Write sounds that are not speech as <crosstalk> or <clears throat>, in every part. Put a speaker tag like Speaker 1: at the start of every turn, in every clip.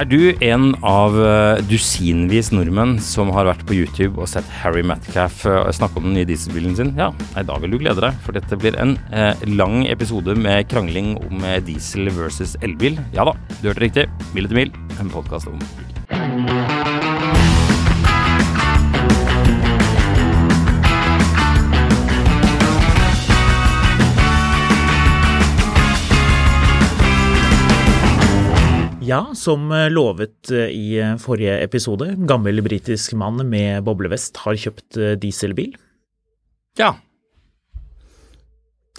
Speaker 1: Er du en av eh, dusinvis nordmenn som har vært på YouTube og sett Harry Matcaff eh, snakke om den nye dieselbilen sin? Ja, nei, da vil du glede deg, for dette blir en eh, lang episode med krangling om eh, diesel versus elbil. Ja da, du hørte riktig. Mil etter mil, en podkast om bil.
Speaker 2: Ja, som eh, lovet eh, i eh, forrige episode, gammel britisk mann med boblevest har kjøpt eh, dieselbil.
Speaker 1: Ja.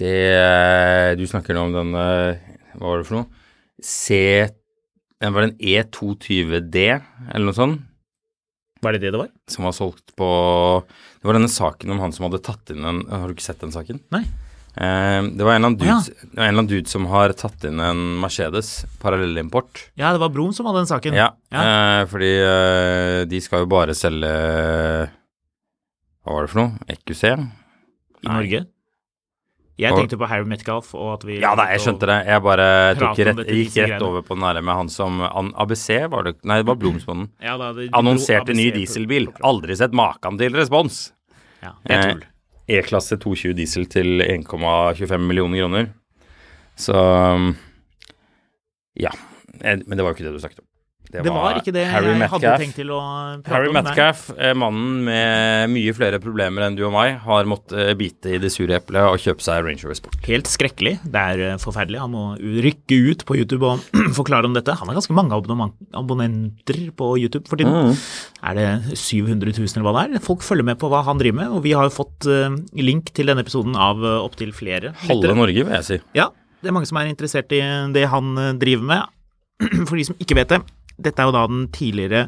Speaker 1: Det eh, Du snakker nå om den eh, Hva var det for noe? C... eh, Var det en E220D, eller noe sånt?
Speaker 2: Var det det det var?
Speaker 1: som var solgt på Det var denne saken om han som hadde tatt inn en Har du ikke sett den saken?
Speaker 2: Nei.
Speaker 1: Eh, det var en eller annen dude,
Speaker 2: Ja.
Speaker 1: det var en eller annen dude som har tatt inn en Mercedes, parallellimport.
Speaker 2: Ja, det var Brom som hadde den saken.
Speaker 1: Ja,
Speaker 2: Ja.
Speaker 1: Eh, fordi eh, de skal jo bare selge Hva var det for noe? E? EQC?
Speaker 2: I Norge. Jeg tenkte på Harry Metcalf og at vi
Speaker 1: Ja da, jeg skjønte det. Jeg bare tok
Speaker 2: Prate om
Speaker 1: rett,
Speaker 2: dette
Speaker 1: gikk
Speaker 2: dieselgreiene. Mm.
Speaker 1: rett over på den der med han som an, ABC, var det Nei, det var Blomsbonden.
Speaker 2: Ja, da, det-
Speaker 1: Annonserte ny
Speaker 2: ABC-
Speaker 1: dieselbil. Aldri sett maken til respons.
Speaker 2: Ja, det er tull.
Speaker 1: Eh, E-klasse 220 diesel til 1,25 millioner kroner. Så um, ja. Eh, Men det var jo ikke det du snakket om.
Speaker 2: Det var ikke det
Speaker 1: Eh, Harry
Speaker 2: jeg hadde
Speaker 1: Metcalf.
Speaker 2: tenkt til å prate
Speaker 1: Harry
Speaker 2: om. nei.
Speaker 1: Metcalf, eh, mannen med mye flere problemer enn du og meg, har måttet eh, bite i det sure eplet og kjøpe seg Range Rover Sport.
Speaker 2: Helt skrekkelig. Det er eh, forferdelig. Han må rykke ut på YouTube og <clears throat> forklare om dette. Han har ganske mange abonnement- abonnenter på YouTube for tiden. Er det 700 000 eller hva det er? Folk følger med på hva han driver med, og vi har jo fått eh, link til denne episoden av uh, opptil flere.
Speaker 1: Halve
Speaker 2: lyttere.
Speaker 1: Norge, vil jeg si.
Speaker 2: Ja, det er mange som er interessert i det han eh, driver med. <clears throat> For de som ikke vet det, dette er jo da den tidligere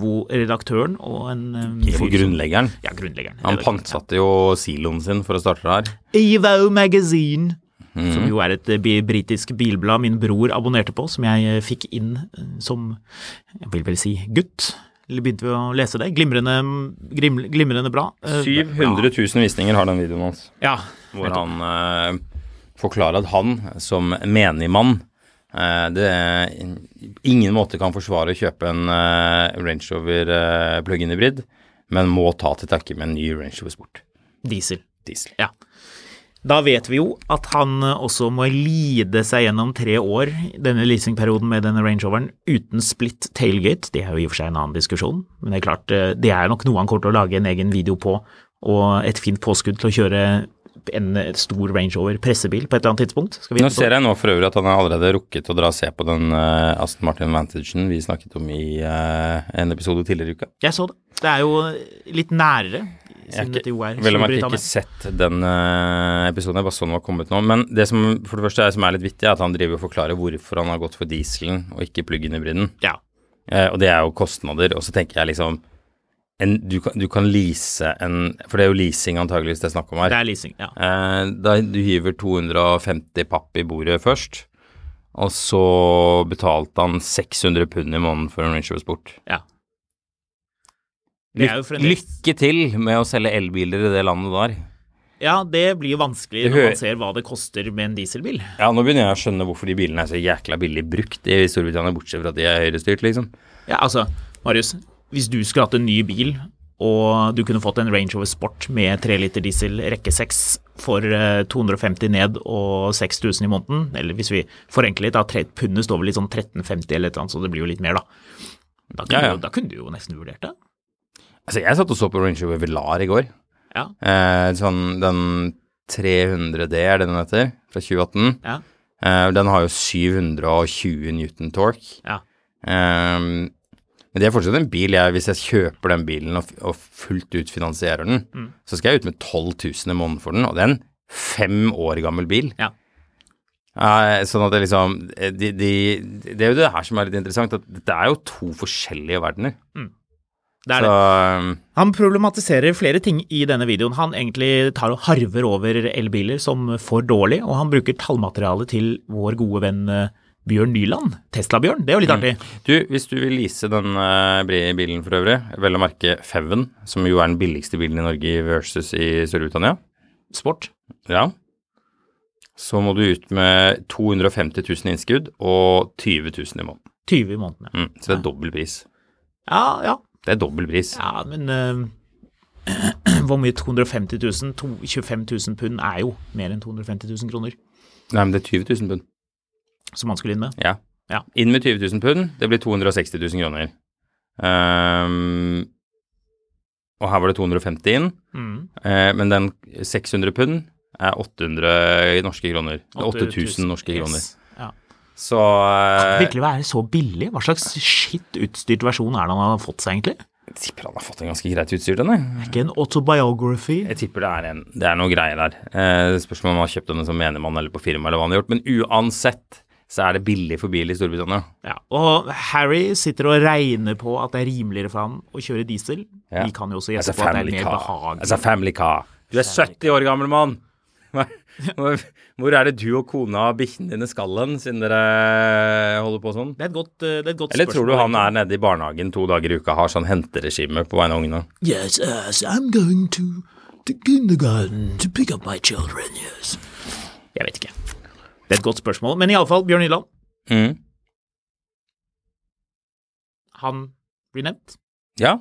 Speaker 2: EVO-redaktøren og en eh,
Speaker 1: For
Speaker 2: fyr som-
Speaker 1: grunnleggeren.
Speaker 2: Ja, grunnleggeren.
Speaker 1: Han
Speaker 2: Redaktøren, ja.
Speaker 1: pantsatte jo siloen sin for å starte det her.
Speaker 2: Evo Magazine, som jo er et eh, bi- britisk bilblad min bror abonnerte på, som jeg eh, fikk inn eh, som, jeg vil vel si, gutt. Eller begynte vi å lese det. Glimrende, mm, grim, glimrende bra. Eh,
Speaker 1: 700 000 visninger har den videoen hans.
Speaker 2: Ja.
Speaker 1: Hvor han eh, forklarer at han som menigmann eh, det er in- ingen måte kan forsvare å kjøpe en eh, Range Rover eh, plug-in hybrid, men må ta til takke med en ny Range Rover Sport
Speaker 2: Diesel.
Speaker 1: diesel.
Speaker 2: Ja. Da vet vi jo at han eh, også må lide seg gjennom tre år, denne leasingperioden med denne Range Roveren, uten split tailgate. Det er jo i og for seg en annen diskusjon, men det er klart, eh, det er nok noe han kommer til å lage en egen video på, og et fint påskudd til å kjøre en eh, stor Range Rover pressebil på et eller annet tidspunkt. Skal vi
Speaker 1: Nå ser jeg nå for øvrig at han har allerede rukket å dra og se på den eh, Aston Martin Vantagen vi snakket om i eh, en episode tidligere i uka.
Speaker 2: Jeg så det. Det er jo litt nærere,
Speaker 1: Jeg
Speaker 2: siden
Speaker 1: har
Speaker 2: dette jo er
Speaker 1: ikke, vel å merke ikke
Speaker 2: Storbritannia.
Speaker 1: sett den eh, episoden, jeg bare så den var kommet nå. Men det som for det første er, som er litt vittig, er at han driver og forklarer hvorfor han har gått for dieselen og ikke plug-in-hybriden.
Speaker 2: Ja.
Speaker 1: Eh, og det er jo kostnader. Og så tenker jeg liksom en, du, kan, du kan lease en For det er jo leasing antageligvis det er snakk om her.
Speaker 2: Det er leasing, ja.
Speaker 1: Eh, da du hiver 250 papp i bordet først, og så betalte han 600 pund i måneden for en Range Rover Sport.
Speaker 2: ja. Det er jo
Speaker 1: Lykke,
Speaker 2: fremdeles-
Speaker 1: lykke til med å selge elbiler i det landet der.
Speaker 2: Ja, det blir jo vanskelig
Speaker 1: Det
Speaker 2: når
Speaker 1: hø-
Speaker 2: man ser hva det koster med en dieselbil.
Speaker 1: Ja, nå begynner jeg å skjønne hvorfor de bilene er så jækla billig brukt i Storbritannia, bortsett fra at de er høyrestyrt, liksom.
Speaker 2: Ja, altså, Marius, hvis du skulle hatt en ny bil, og du kunne fått en Range Rover Sport med 3 liter diesel rekke 6 for eh, 250 ned og 6000 i måneden, eller hvis vi forenkler litt, da, tre- pundet står vel litt sånn 1350 eller et eller annet, så det blir jo litt mer, da. Da kunne,
Speaker 1: Ja, ja.
Speaker 2: Du, da kunne du jo nesten vurdert det.
Speaker 1: Altså, jeg satt og så på Range Rover Velar i går.
Speaker 2: Ja.
Speaker 1: Eh, sånn den 300D er det den heter, fra 2018.
Speaker 2: Ja.
Speaker 1: Eh, den har jo 720 newton torque.
Speaker 2: Ja.
Speaker 1: Eh, men det er fortsatt en bil jeg, hvis jeg kjøper den bilen og, f- og fullt ut finansierer den,
Speaker 2: Mm.
Speaker 1: så skal jeg ut med 12 000 i måneden for den, og det er en fem år gammel bil.
Speaker 2: Ja.
Speaker 1: Eh, sånn at det liksom de, de, Det er jo det her som er litt interessant, at det er jo to forskjellige verdener.
Speaker 2: Mm. Det er det.
Speaker 1: så ehm,
Speaker 2: Han problematiserer flere ting i denne videoen. Han egentlig tar og harver over elbiler som for dårlig, og han bruker tallmaterialet til vår gode venn eh, Bjørn Nyland, Tesla-Bjørn. Det er jo litt artig.
Speaker 1: Du, hvis du vil lease den eh, bri- bilen for øvrig, vel å merke Feven, som jo er den billigste bilen i Norge versus i Storbritannia,
Speaker 2: Sport.
Speaker 1: ja, så må du ut med 250 000 innskudd og 20 000 i måneden.
Speaker 2: 20 i måneden. ja.
Speaker 1: Mm, så det er dobbel pris.
Speaker 2: Ja, ja.
Speaker 1: Det er dobbel pris.
Speaker 2: ja men eh, <clears throat> hvor mye 250 000? To, 25 000 pund er jo mer enn 250 000 kroner
Speaker 1: Nei, men det er 20 000 pund.
Speaker 2: som han skulle inn med.
Speaker 1: Ja.
Speaker 2: Ja.
Speaker 1: Inn med 20 000 pund, det blir 260 000 kroner. Ehm, og her var det 250 inn,
Speaker 2: Mm.
Speaker 1: eh, men den 600 pund er 800 norske kroner. Det er 8000 norske
Speaker 2: Yes.
Speaker 1: kroner.
Speaker 2: Ja.
Speaker 1: Så
Speaker 2: Kan det
Speaker 1: eh,
Speaker 2: virkelig være så billig? Hva slags skitt utstyrt versjon er det han har fått seg, egentlig?
Speaker 1: jeg tipper han har fått en ganske greit utstyr, den. jeg.
Speaker 2: Er ikke en autobiography?
Speaker 1: Jeg tipper det er, en, det er noe greier der. Eh, spørsmål om han har kjøpt den som menigmann eller på firma eller hva han har gjort. Men uansett så er det billig for bil i Storbritannia.
Speaker 2: Ja, og Harry sitter og regner på at det er rimeligere for ham å kjøre diesel.
Speaker 1: Ja.
Speaker 2: Vi kan jo også gjette
Speaker 1: Altså,
Speaker 2: på at det er
Speaker 1: family
Speaker 2: mer
Speaker 1: car.
Speaker 2: behagelig.
Speaker 1: Altså family car. Du er 70 år gammel mann. <laughs> Hvor hvor er det du og kona og bikkjen din skal hen, siden dere holder på sånn?
Speaker 2: det er et godt, eh, det er et godt
Speaker 1: Eller tror
Speaker 2: spørsmål.
Speaker 1: du han er nede i barnehagen to dager i uka, har sånn henteregime på vegne av ungene?
Speaker 2: Yes, yes, I'm going to, to kindergarten to pick up my children, yes. Jeg vet ikke. Det er et godt spørsmål. Men iallfall, Bjørn Nyland,
Speaker 1: Mm.
Speaker 2: han blir nevnt.
Speaker 1: Ja.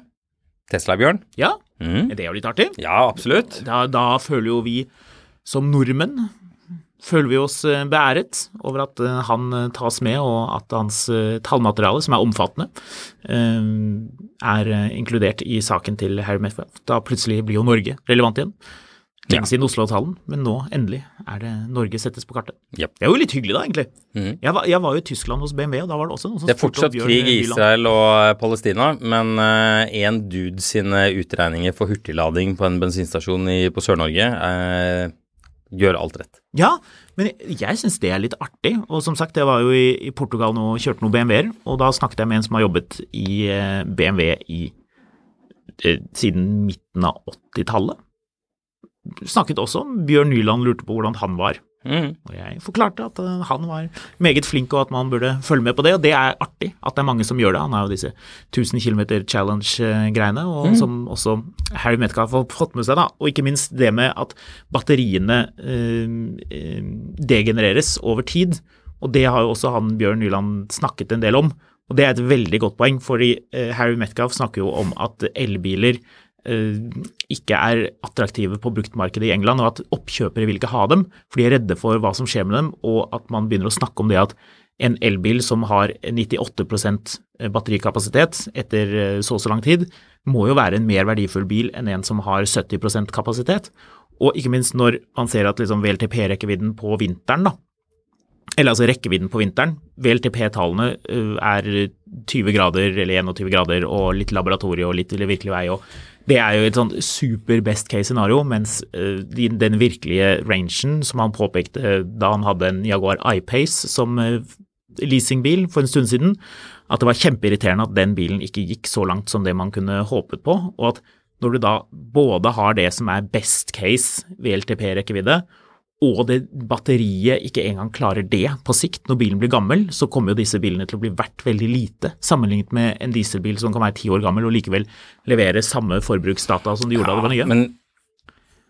Speaker 1: Tesla-Bjørn?
Speaker 2: Ja,
Speaker 1: Mm.
Speaker 2: det er jo litt artig.
Speaker 1: Ja, absolutt.
Speaker 2: Da, da føler jo vi som nordmenn føler vi oss eh, beæret over at eh, han eh, tas med, og at hans eh, tallmateriale, som er omfattende, eh, er eh, inkludert i saken til Harry Metcalf. Da plutselig blir jo Norge relevant igjen.
Speaker 1: Ja.
Speaker 2: Lenge siden Oslo-talen, men nå endelig er det Norge settes på kartet.
Speaker 1: Japp. Mhm.
Speaker 2: Det er jo litt hyggelig da, egentlig. Jeg, var, jeg var jo i Tyskland hos BMW, og da var det også noen som
Speaker 1: Det er
Speaker 2: spurte om
Speaker 1: fortsatt
Speaker 2: Bjørn
Speaker 1: krig i
Speaker 2: Nyland.
Speaker 1: Israel og eh, Palestina, men én dude sine utregninger for hurtiglading på en bensinstasjon i, på Sør-Norge eh, gjør alt rett.
Speaker 2: Ja, men jeg syns det er litt artig. Og som sagt, jeg var jo i, i Portugal nå og kjørte noen BMW-er, og da snakket jeg med en som har jobbet i eh, BMW i eh, siden midten av 80-tallet. Snakket også om Bjørn Nyland lurte på hvordan han var.
Speaker 1: Mm.
Speaker 2: Og jeg forklarte at eh, han var meget flink og at man burde følge med på det, og det er artig at det er mange som gjør det. Han har jo disse 1000 km challenge-greiene, og som også Harry Metcalf har fått med seg, da. Og ikke minst det med at batteriene eh, eh, degenereres over tid, og det har jo også han Bjørn Nyland snakket en del om. Og det er et veldig godt poeng, fordi eh, Harry Metcalf snakker jo om at elbiler eh, ikke er attraktive på bruktmarkedet i England, og at oppkjøpere vil ikke ha dem, for de er redde for hva som skjer med dem, og at man begynner å snakke om det at en elbil som har 98 batterikapasitet etter eh, så og så lang tid, må jo være en mer verdifull bil enn en som har 70 kapasitet. Og ikke minst når man ser at liksom VLTP-rekkevidden på vinteren, da, eller altså rekkevidden på vinteren. VLTP-tallene eh, er 20 grader eller 21 grader og litt laboratorie og litt eller virkelig vei. Og det er jo et sånn super best case scenario, mens eh, de- den virkelige rangen som han påpekte eh, da han hadde en Jaguar I-Pace som eh, leasingbil for en stund siden, at det var kjempeirriterende at den bilen ikke gikk så langt som det man kunne håpet på, og at når du da både har det som er best case VLTP-rekkevidde, og det batteriet ikke engang klarer det på sikt, når bilen blir gammel, så kommer jo disse bilene til å bli verdt veldig lite, sammenlignet med en dieselbil som kan være ti år gammel og likevel levere samme forbruksdata som de gjorde da de var nye.
Speaker 1: Men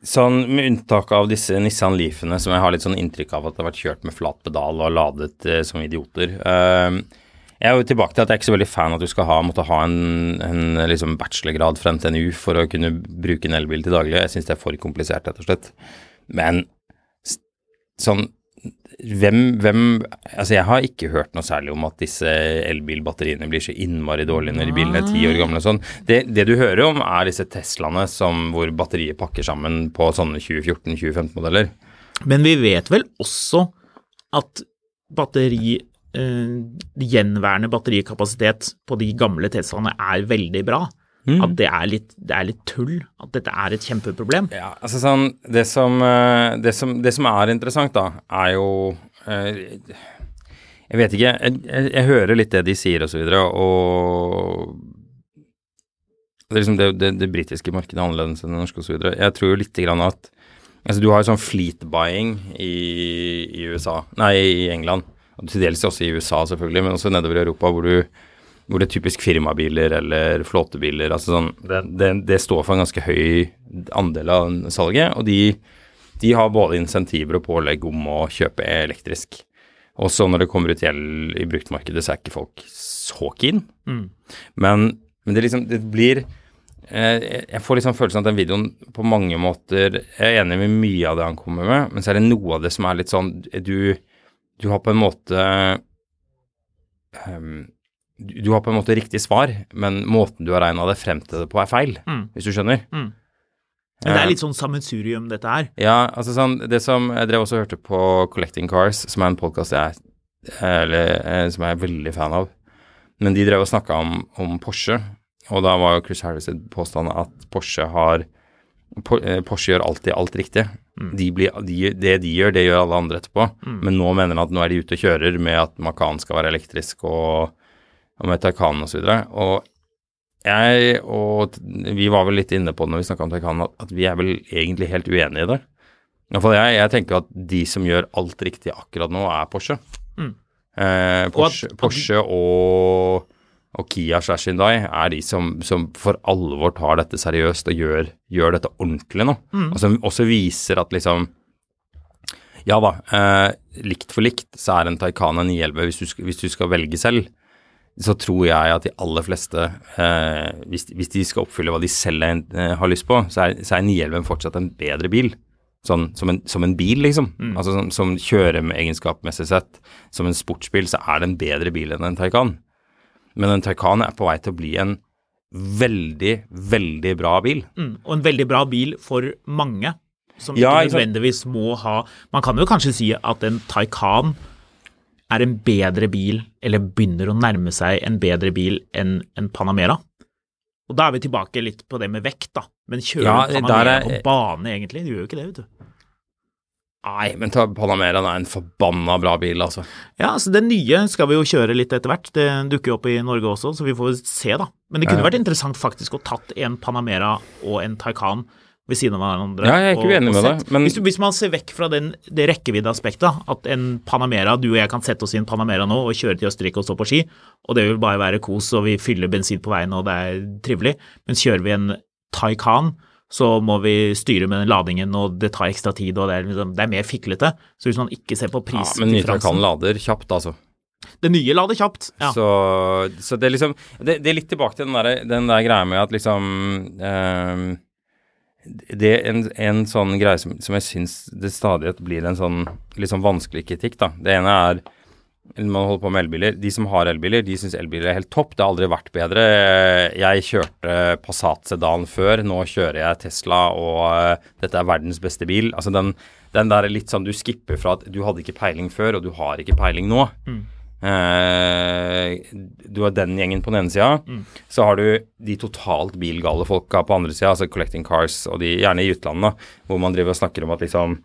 Speaker 1: sånn, med unntak av disse Nissan Leafene, som jeg har litt sånn inntrykk av at har vært kjørt med flat pedal og ladet eh, som idioter eh, Jeg er jo tilbake til at jeg er ikke så veldig fan at du skal ha, måtte ha en, en liksom bachelorgrad fra NTNU for å kunne bruke en elbil til daglig. Jeg syns det er for komplisert, rett og slett. Men s- sånn hvem, hvem Altså, jeg har ikke hørt noe særlig om at disse elbilbatteriene blir så innmari dårlige når bilene er ti år gamle og sånn. Det, det du hører om, er disse Teslaene som, hvor batteriet pakker sammen på sånne 2014-2015-modeller.
Speaker 2: Men vi vet vel også at batteri eh, Gjenværende batterikapasitet på de gamle Teslaene er veldig bra. At det er, litt, det er litt tull. At dette er et kjempeproblem.
Speaker 1: Ja, altså sånn, det som, eh, det som, det som er interessant da, er jo eh, Jeg vet ikke, jeg, jeg, jeg hører litt det de sier og så videre, og det, er liksom det, det, det britiske markedet er annerledes enn det norske og så videre. Jeg tror jo litt grann at altså Du har jo sånn fleet-buying i, i USA, nei, i England, og til dels også i USA selvfølgelig, men også nedover i Europa hvor du hvor det er typisk firmabiler eller flåtebiler. altså sånn, det, det, det står for en ganske høy andel av salget, og de, de har både insentiver og pålegg om å kjøpe elektrisk. Og så når det kommer ut gjeld i bruktmarkedet, så er ikke folk så keen. Men, men det, liksom, det blir eh, Jeg får liksom følelsen av at den videoen på mange måter Jeg er enig med mye av det han kommer med, men så er det noe av det som er litt sånn Du, du har på en måte ehm, du du har på en måte riktig svar, men måten du har regna det frem til det på, er feil. Hvis du skjønner?
Speaker 2: Men det er litt sånn sammensurium, dette her.
Speaker 1: Ja, altså sånn Det som jeg drev også og hørte på Collecting Cars, som er en podkast jeg, er- eller, eh, som jeg er veldig fan av, men de drev og snakka om, om Porsche, og da var jo Chris Harris' påstand at Porsche har Por- eh, Porsche gjør alltid alt riktig. De blir, de, det de gjør, det gjør alle andre etterpå. Men nå mener han at nå er de ute og kjører med at Macan skal være elektrisk og, og med Taycan osv. Og jeg og t- vi var vel litt inne på det når vi snakka om Taycan, at, at vi er vel egentlig helt uenige i det. I hvert fall jeg, jeg tenker at de som gjør alt riktig akkurat nå, er Porsche. Eh, Porsche,
Speaker 2: at- at de-
Speaker 1: Porsche og, og Kia slash Hyundai er de som, som for alvor tar dette seriøst og gjør, gjør dette ordentlig nå. Og som også viser at liksom Ja da, eh, likt for likt så er en Taycan en 911 hvis du, sk- hvis du skal velge selv så tror jeg at de aller fleste, eh, hvis, hvis de skal oppfylle hva de selv eh, har lyst på, så er, så er 911 fortsatt en bedre bil. Sånn, som, en, som en bil, liksom. Altså som, som kjøreegenskapmessig sett, som en sportsbil, så er det en bedre bil enn en Taycan. Men en Taycan er på vei til å bli en veldig, veldig bra bil.
Speaker 2: Mm. Og en veldig bra bil for mange, som
Speaker 1: Ja, ikke
Speaker 2: ikke
Speaker 1: sant.
Speaker 2: nødvendigvis må ha Man kan jo kanskje si at en Taycan er en bedre bil, eller begynner å nærme seg en bedre bil enn en Panamera. Og da er vi tilbake litt på det med vekt, da. Men kjører
Speaker 1: Ja,
Speaker 2: en Panamera
Speaker 1: der er-
Speaker 2: på bane, egentlig? Du gjør jo ikke det, vet du.
Speaker 1: Nei, men ta Panameraen er en forbanna bra bil, altså.
Speaker 2: Ja, altså Den nye skal vi jo kjøre litt etter hvert. Det dukker jo opp i Norge også, så vi får se, da. Men det kunne vært interessant faktisk å tatt en Panamera og en Taycan ved siden av hverandre.
Speaker 1: Ja, jeg er ikke
Speaker 2: og-
Speaker 1: uenig
Speaker 2: og
Speaker 1: med
Speaker 2: sett.
Speaker 1: deg, men-
Speaker 2: Hvis, du, hvis man ser vekk fra den, det rekkeviddeaspektet, at en Panamera, du og jeg kan sette oss i en Panamera nå og kjøre til Østerrike og stå på ski, og det vil bare være kos og vi fyller bensin på veien og det er trivelig, men kjører vi en Taycan så må vi styre med den ladingen, og det tar ekstra tid, og det er, liksom, det er mer fiklete. Så hvis man ikke ser på
Speaker 1: Ja, men nye
Speaker 2: prisdifferansen
Speaker 1: Taycan lader kjapt, altså.
Speaker 2: det nye la det kjapt. Ja.
Speaker 1: Så, så det er liksom det, det er litt tilbake til den der, den der greia med at liksom ehm, Det er en, en sånn greie som, som jeg syns det stadig blir en sånn litt sånn vanskelig kritikk, da. Det ene er når man holder på med elbiler. De som har elbiler, de syns elbiler er helt topp. Det har aldri vært bedre. Jeg kjørte Passat Sedan før, nå kjører jeg Tesla, og eh, dette er verdens beste bil. Altså den, den der er litt sånn du skipper fra at du hadde ikke peiling før, og du har ikke peiling nå. Eh, du har den gjengen på den ene sida. Så har du de totalt bilgale folka på andre sida, altså Collecting Cars, og de gjerne i utlandet, da, hvor man driver og snakker om at liksom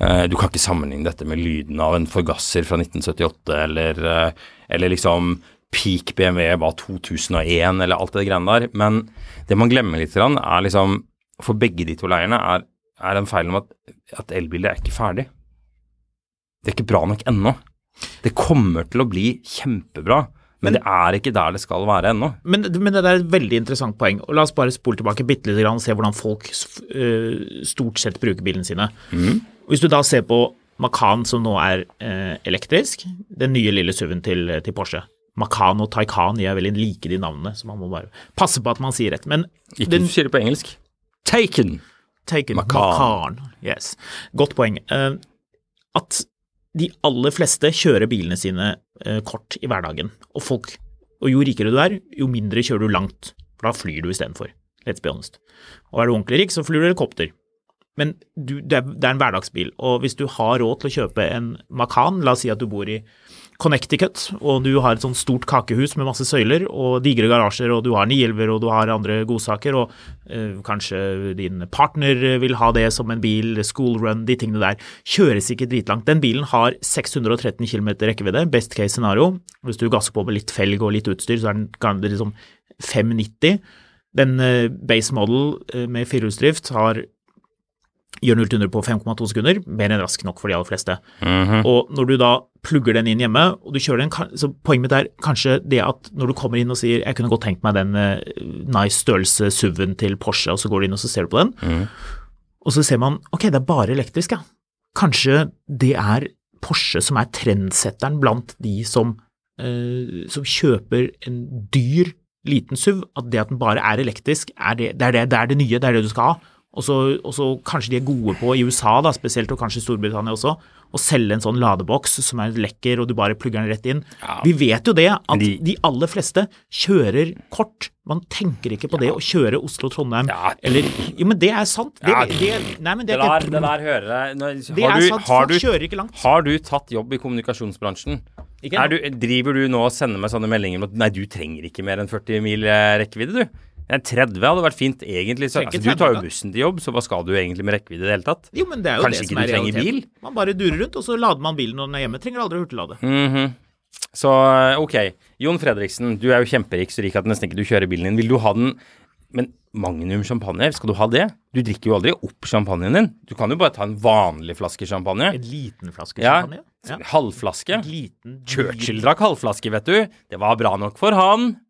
Speaker 1: eh, Du kan ikke sammenligne dette med lyden av en forgasser fra 1978, eller, eh, eller liksom peak BMW var 2001, eller alt det greiene der. Men det man glemmer litt, grann er liksom For begge de to leirene er, er den feilen om at, at elbiler er ikke ferdig. Det er ikke bra nok ennå. Det kommer til å bli kjempebra, men det er ikke der det skal være ennå.
Speaker 2: Men, men det der er et veldig interessant poeng. og La oss bare spole tilbake bitte lite grann og se hvordan folk s- øh, stort sett bruker bilene sine. Hvis du da ser på Macan, som nå er øh, elektrisk, den nye lille SUV-en til, til Porsche. Macan og Taycan gjør veldig like de navnene, så man må bare passe på at man sier rett. Men
Speaker 1: Ikke
Speaker 2: den
Speaker 1: hvis du sier det på engelsk. Taken!
Speaker 2: taken.
Speaker 1: Macan.
Speaker 2: Macan, Yes. Godt poeng. Eh, at de aller fleste kjører bilene sine eh, kort i hverdagen. Og folk Og jo rikere du er, jo mindre kjører du langt. For da flyr du istedenfor. Let's be honest. Og er du ordentlig rik, så flyr du helikopter. Men du, det, er, det er en hverdagsbil, og hvis du har råd til å kjøpe en Macan, la oss si at du bor i Connecticut, og du har et sånt stort kakehus med masse søyler og digre garasjer, og du har nielver, og du har andre godsaker, og eh, kanskje din partner vil ha det som en bil, school run, de tingene der, kjøres ikke dritlangt. Den bilen har 613 km rekkevidde, best case scenario. Hvis du gasser på med litt felg og litt utstyr, så er den kan det liksom 590. Den eh, base model eh, med firehjulsdrift har gjør 0-100 på 5,2 sekunder, mer enn rask nok for de aller fleste. Og når du da plugger den inn hjemme, og du kjører den, kan- så poenget mitt er kanskje det at når du kommer inn og sier 'jeg kunne godt tenkt meg den eh, nice størrelse SUV-en til Porsche', og så går du inn og så ser du på den, og så ser man 'ok, det er bare elektrisk', ja. Kanskje det er Porsche som er trendsetteren blant de som, eh, som kjøper en dyr liten SUV, at det at den bare er elektrisk, er det, det, er det, det er det nye, det er det du skal ha. Og så, og så kanskje de er gode på, i USA da, spesielt, og kanskje i Storbritannia også, å selge en sånn ladeboks som er lekker, og du bare plugger den rett inn. Vi vet jo det, at de,
Speaker 1: de-
Speaker 2: aller fleste kjører kort. Man tenker ikke på det å kjøre Oslo-Trondheim,
Speaker 1: Ja.
Speaker 2: eller Jo, men det er sant. Det,
Speaker 1: Ja.
Speaker 2: det, nei, men det,
Speaker 1: Det
Speaker 2: er
Speaker 1: der,
Speaker 2: ikke-
Speaker 1: det der hører jeg Nå-
Speaker 2: Det
Speaker 1: har
Speaker 2: er
Speaker 1: du-
Speaker 2: sant,
Speaker 1: har
Speaker 2: folk
Speaker 1: du-
Speaker 2: kjører ikke langt.
Speaker 1: Har du tatt jobb i kommunikasjonsbransjen?
Speaker 2: Ikke
Speaker 1: er du,
Speaker 2: ennå.
Speaker 1: driver du nå og sender meg sånne meldinger om at nei, du trenger ikke mer enn 40 mil eh, rekkevidde, du? Eh, 30 hadde vært fint, egentlig. Så,
Speaker 2: Trenger
Speaker 1: altså,
Speaker 2: ikke
Speaker 1: du tar jo
Speaker 2: 30, da.
Speaker 1: bussen til jobb, så hva skal du egentlig med rekkevidde i det hele tatt?
Speaker 2: Jo, men det er jo
Speaker 1: Kanskje
Speaker 2: det
Speaker 1: ikke
Speaker 2: som er
Speaker 1: du trenger
Speaker 2: realiteten.
Speaker 1: bil? Mm.
Speaker 2: Man bare durer rundt, og så lader man bilen når den er hjemme. Trenger aldri hurtiglade.
Speaker 1: Så eh, OK. Jon Fredriksen, du er jo kjemperik, så rik at nesten ikke du kjører bilen din. Vil du ha den Men Magnum champagne, skal du ha det? Du drikker jo aldri opp champagnen din. Du kan jo bare ta en vanlig flaske champagne.
Speaker 2: En liten flaske
Speaker 1: Ja.
Speaker 2: champagne. Ja.
Speaker 1: Halvflaske.
Speaker 2: Liten
Speaker 1: Churchill drakk halvflaske, vet du. Det var bra nok for han.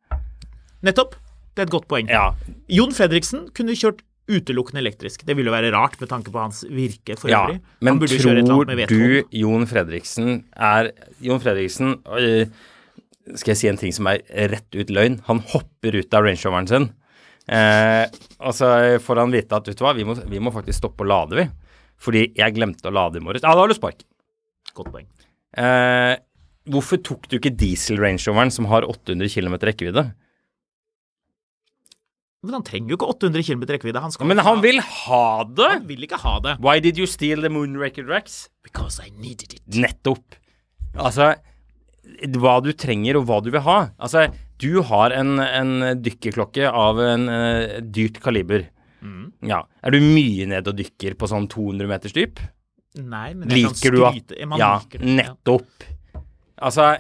Speaker 2: Nettopp. Det er et godt poeng.
Speaker 1: Ja.
Speaker 2: Jon Fredriksen kunne kjørt utelukkende elektrisk. Det ville jo være rart med tanke på hans virke for
Speaker 1: ja.
Speaker 2: øvrig.
Speaker 1: Men
Speaker 2: Han burde jo kjøre et eller
Speaker 1: tror
Speaker 2: annet med
Speaker 1: du
Speaker 2: vedhold.
Speaker 1: Jon Fredriksen er Jon Fredriksen øh, Skal jeg si en ting som er rett ut løgn? Han hopper ut av rangeoveren sin. Eh, og så får han vite at vet du hva, vi må, vi må faktisk stoppe å lade, vi. Fordi jeg glemte å lade i morges. Ja, da har du spark.
Speaker 2: Godt poeng.
Speaker 1: Eh, hvorfor tok du ikke diesel-rangeoveren som har 800 km rekkevidde?
Speaker 2: Men han trenger jo ikke 800 km rekkevidde. Han skal
Speaker 1: Men
Speaker 2: ikke
Speaker 1: han
Speaker 2: ha-
Speaker 1: vil ha det!
Speaker 2: Han vil ikke ha det.
Speaker 1: Why did you steal the moon record racks?
Speaker 2: Because I needed it.
Speaker 1: Nettopp. Altså, hva du trenger og hva du vil ha. Altså, du har en, en dykkerklokke av en eh, dyrt kaliber.
Speaker 2: Mm.
Speaker 1: Ja. Er du mye ned og dykker på sånn 200 meters dyp?
Speaker 2: Nei, men jeg
Speaker 1: Liker du
Speaker 2: kan
Speaker 1: at
Speaker 2: skryte. Man
Speaker 1: Ja,
Speaker 2: liker det.
Speaker 1: nettopp. Altså,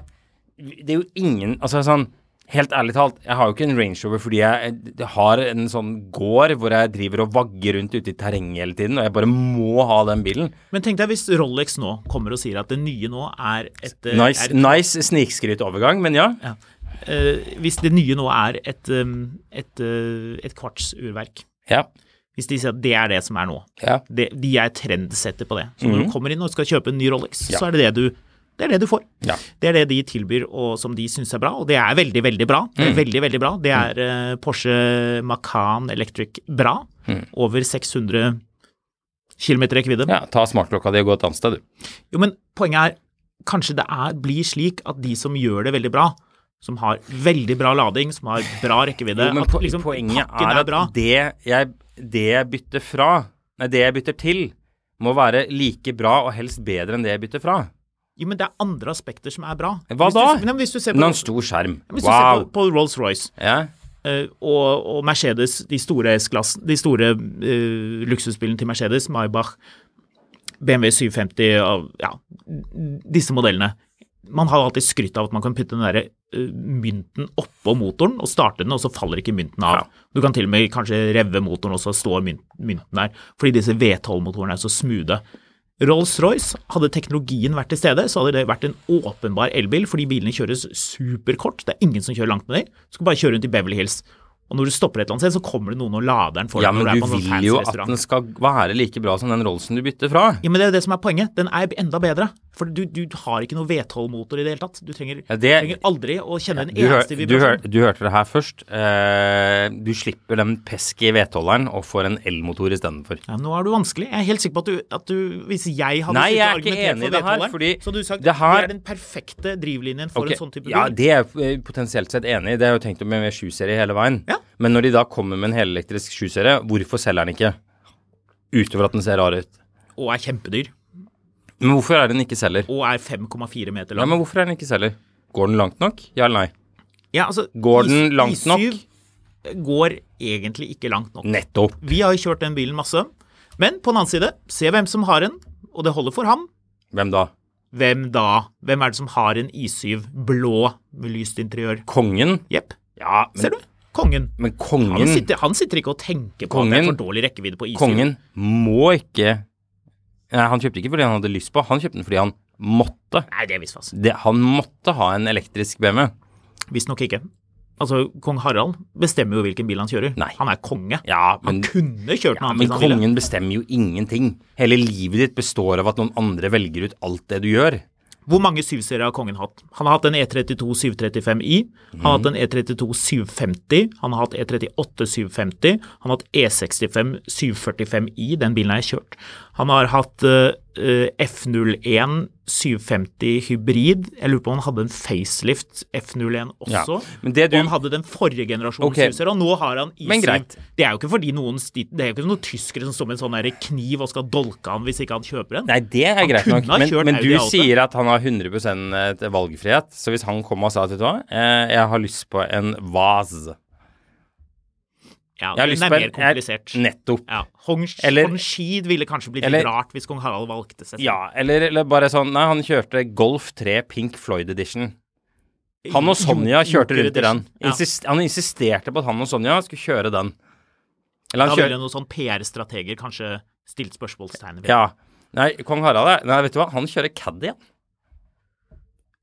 Speaker 1: det er jo ingen Altså, sånn Helt ærlig talt, jeg har jo ikke en Range Rover fordi jeg jeg har en sånn gård hvor jeg driver og vagger rundt ute i terrenget hele tiden, og jeg bare må ha den bilen.
Speaker 2: Men tenk deg hvis Rolex nå kommer og sier at det nye nå er et eh,
Speaker 1: Nice,
Speaker 2: er et
Speaker 1: nice snikskrytovergang, men ja.
Speaker 2: Ja. Eh, hvis det nye nå er et, um, et, eh, et kvartsurverk,
Speaker 1: Ja.
Speaker 2: hvis de sier at det er det som er nå,
Speaker 1: Ja.
Speaker 2: det, de er trendsetter på det. Så når du kommer inn og skal kjøpe en ny Rolex,
Speaker 1: Mhm. Ja.
Speaker 2: så er det det du det er det du får.
Speaker 1: Ja.
Speaker 2: Det er det de tilbyr og som de syns er bra, og det er veldig, veldig bra. Det er
Speaker 1: Mhm.
Speaker 2: veldig, veldig bra. Det er eh, Porsche Macan Electric bra.
Speaker 1: Mhm.
Speaker 2: Over 600 km rekkevidde.
Speaker 1: Ja, ta smartklokka di og gå et annet sted, du.
Speaker 2: Jo, men poenget er, kanskje det er, blir slik at de som gjør det veldig bra, som har veldig bra lading, som har bra rekkevidde
Speaker 1: men
Speaker 2: at
Speaker 1: po
Speaker 2: liksom
Speaker 1: poenget
Speaker 2: pakken
Speaker 1: er
Speaker 2: er
Speaker 1: at
Speaker 2: bra.
Speaker 1: det jeg, det jeg bytter fra, nei, det jeg bytter til, må være like bra og helst bedre enn det jeg bytter fra.
Speaker 2: Jo, men det er andre aspekter som er bra.
Speaker 1: Hva
Speaker 2: hvis
Speaker 1: da?
Speaker 2: Du, nei, men hvis du ser på,
Speaker 1: Men en stor skjerm.
Speaker 2: hvis du ser
Speaker 1: Wow.
Speaker 2: på, på Rolls-Royce
Speaker 1: Ja.
Speaker 2: eh, og, og Mercedes, de store S-klassen, de store eh, luksusbilene til Mercedes, Maybach, BMW 750 og ja, disse modellene. Man har alltid skrytt av at man kan putte den der eh, mynten oppå motoren og starte den, og så faller ikke mynten av. Du kan til og med kanskje revve motoren, og så står mynt, mynten der. Fordi disse V12-motorene er så smoothe. Rolls-Royce, hadde teknologien vært til stede, så hadde det vært en åpenbar elbil, fordi bilene kjøres superkort. Det er ingen som kjører langt med dem. Du skal bare kjøre rundt i Beverly Hills. Og når du stopper et eller annet sted, så kommer det noen og lader den for
Speaker 1: ja,
Speaker 2: deg. når
Speaker 1: men
Speaker 2: er
Speaker 1: du
Speaker 2: på en sånn
Speaker 1: vil
Speaker 2: fancy
Speaker 1: jo at
Speaker 2: restaurant.
Speaker 1: den skal være like bra som den Rollsen du bytter fra.
Speaker 2: Ja, men det er jo det som er poenget. Den er enda bedre. For du, du har ikke noe V12-motor i det hele tatt. Du trenger,
Speaker 1: Ja, det-
Speaker 2: trenger aldri å kjenne en
Speaker 1: Du, hør,
Speaker 2: eneste sånn-
Speaker 1: du, hør,
Speaker 2: vibrasjon.
Speaker 1: du hørte det her først. Eh, du slipper den pesky V12-eren og får en elmotor istedenfor.
Speaker 2: Ja, men nå er du vanskelig. Jeg er helt sikker på at du, at du Hvis jeg hadde
Speaker 1: Nei,
Speaker 2: sittet
Speaker 1: jeg er
Speaker 2: og
Speaker 1: ikke
Speaker 2: argumentert
Speaker 1: enig i
Speaker 2: for
Speaker 1: det her,
Speaker 2: V12-eren,
Speaker 1: fordi
Speaker 2: Så hadde du sagt
Speaker 1: det
Speaker 2: det,
Speaker 1: her-
Speaker 2: er den perfekte drivlinjen for
Speaker 1: Ok,
Speaker 2: en sånn type bil.
Speaker 1: Ja, det er jeg eh, potensielt sett enig i. Det har jeg jo tenkt med, med 7-serie hele veien.
Speaker 2: Ja.
Speaker 1: Men når de da kommer med en helelektrisk 7-serie, hvorfor selger den ikke? Utover at den ser rar ut.
Speaker 2: Og er kjempedyr.
Speaker 1: Men hvorfor er den ikke selger?
Speaker 2: Og er 5,4 meter
Speaker 1: Ja,
Speaker 2: lang.
Speaker 1: men hvorfor er den ikke selger? Går den langt nok? Ja eller nei?
Speaker 2: Ja, altså,
Speaker 1: Går
Speaker 2: I-
Speaker 1: den langt nok?
Speaker 2: I7 går egentlig ikke langt nok.
Speaker 1: Nettopp.
Speaker 2: Vi har jo kjørt den bilen masse. Men på den annen side, se hvem som har en, og det holder for ham.
Speaker 1: Hvem da?
Speaker 2: Hvem da? Hvem er det som har en I7 blå med lyst interiør?
Speaker 1: Kongen?
Speaker 2: Jepp.
Speaker 1: Ja,
Speaker 2: Ser
Speaker 1: men,
Speaker 2: du? Kongen.
Speaker 1: men
Speaker 2: Han
Speaker 1: kongen,
Speaker 2: sitter, han sitter ikke og tenker på at det er
Speaker 1: Kongen-
Speaker 2: for dårlig rekkevidde på I7.
Speaker 1: kongen må ikke Nei, han kjøpte ikke fordi han hadde lyst på, han kjøpte den fordi han måtte.
Speaker 2: Nei, det er visst fast.
Speaker 1: Det, han måtte ha en elektrisk BMW.
Speaker 2: Visstnok ikke. Altså, kong Harald bestemmer jo hvilken bil han kjører.
Speaker 1: Nei.
Speaker 2: Han er konge.
Speaker 1: Ja, men-
Speaker 2: han kunne kjørt noe
Speaker 1: Ja,
Speaker 2: annet
Speaker 1: men
Speaker 2: hvis han ville.
Speaker 1: kongen bestemmer jo ingenting. Hele livet ditt består av at noen andre velger ut alt det du gjør.
Speaker 2: Hvor mange syvserier har kongen hatt? Han har hatt en E E32 735i, han har hatt en E E32 750, han har hatt E E38 750, han har hatt E E65 745i, den bilen har jeg kjørt. Han har hatt eh, eh, F01 750 hybrid, jeg lurer på om han hadde en facelift F01 også.
Speaker 1: Ja, men det du-
Speaker 2: Og han hadde den forrige generasjonen
Speaker 1: Ok.
Speaker 2: syvserier, og nå har han i
Speaker 1: Men greit.
Speaker 2: Det er jo ikke fordi noen sti- Det er jo ikke noen tyskere som står med en sånn der kniv og skal dolke han hvis ikke han kjøper en.
Speaker 1: Nei, det er
Speaker 2: Han
Speaker 1: greit
Speaker 2: kunne
Speaker 1: nok,
Speaker 2: ha
Speaker 1: men,
Speaker 2: kjørt
Speaker 1: men
Speaker 2: Audi
Speaker 1: du
Speaker 2: A8.
Speaker 1: sier at han har 100 valgfrihet. Så hvis han kom og sa at vet du hva, eh, jeg har lyst på en Vaz
Speaker 2: Ja,
Speaker 1: jeg har
Speaker 2: den
Speaker 1: lyst
Speaker 2: er
Speaker 1: på
Speaker 2: mer
Speaker 1: en- jeg-
Speaker 2: komplisert.
Speaker 1: Nettopp.
Speaker 2: Ja, Hong,
Speaker 1: Eller-
Speaker 2: Hong Shid ville kanskje blitt
Speaker 1: Eller-
Speaker 2: litt rart hvis kong Harald valgte seg. selv.
Speaker 1: Ja, eller, eller bare sånn Nei, han kjørte Golf 3 Pink Floyd Edition. Han og Sonja
Speaker 2: Jo-
Speaker 1: kjørte rundt i den.
Speaker 2: Joker-edition. Ja.
Speaker 1: Insist, han insisterte på at han og Sonja skulle kjøre den. Eller
Speaker 2: Da
Speaker 1: han kjører
Speaker 2: ville noen sånn PR-strateger kanskje stilt spørsmålstegn ved.
Speaker 1: Ja. Nei, kong Harald er Nei, vet du hva, han kjører Caddy, han.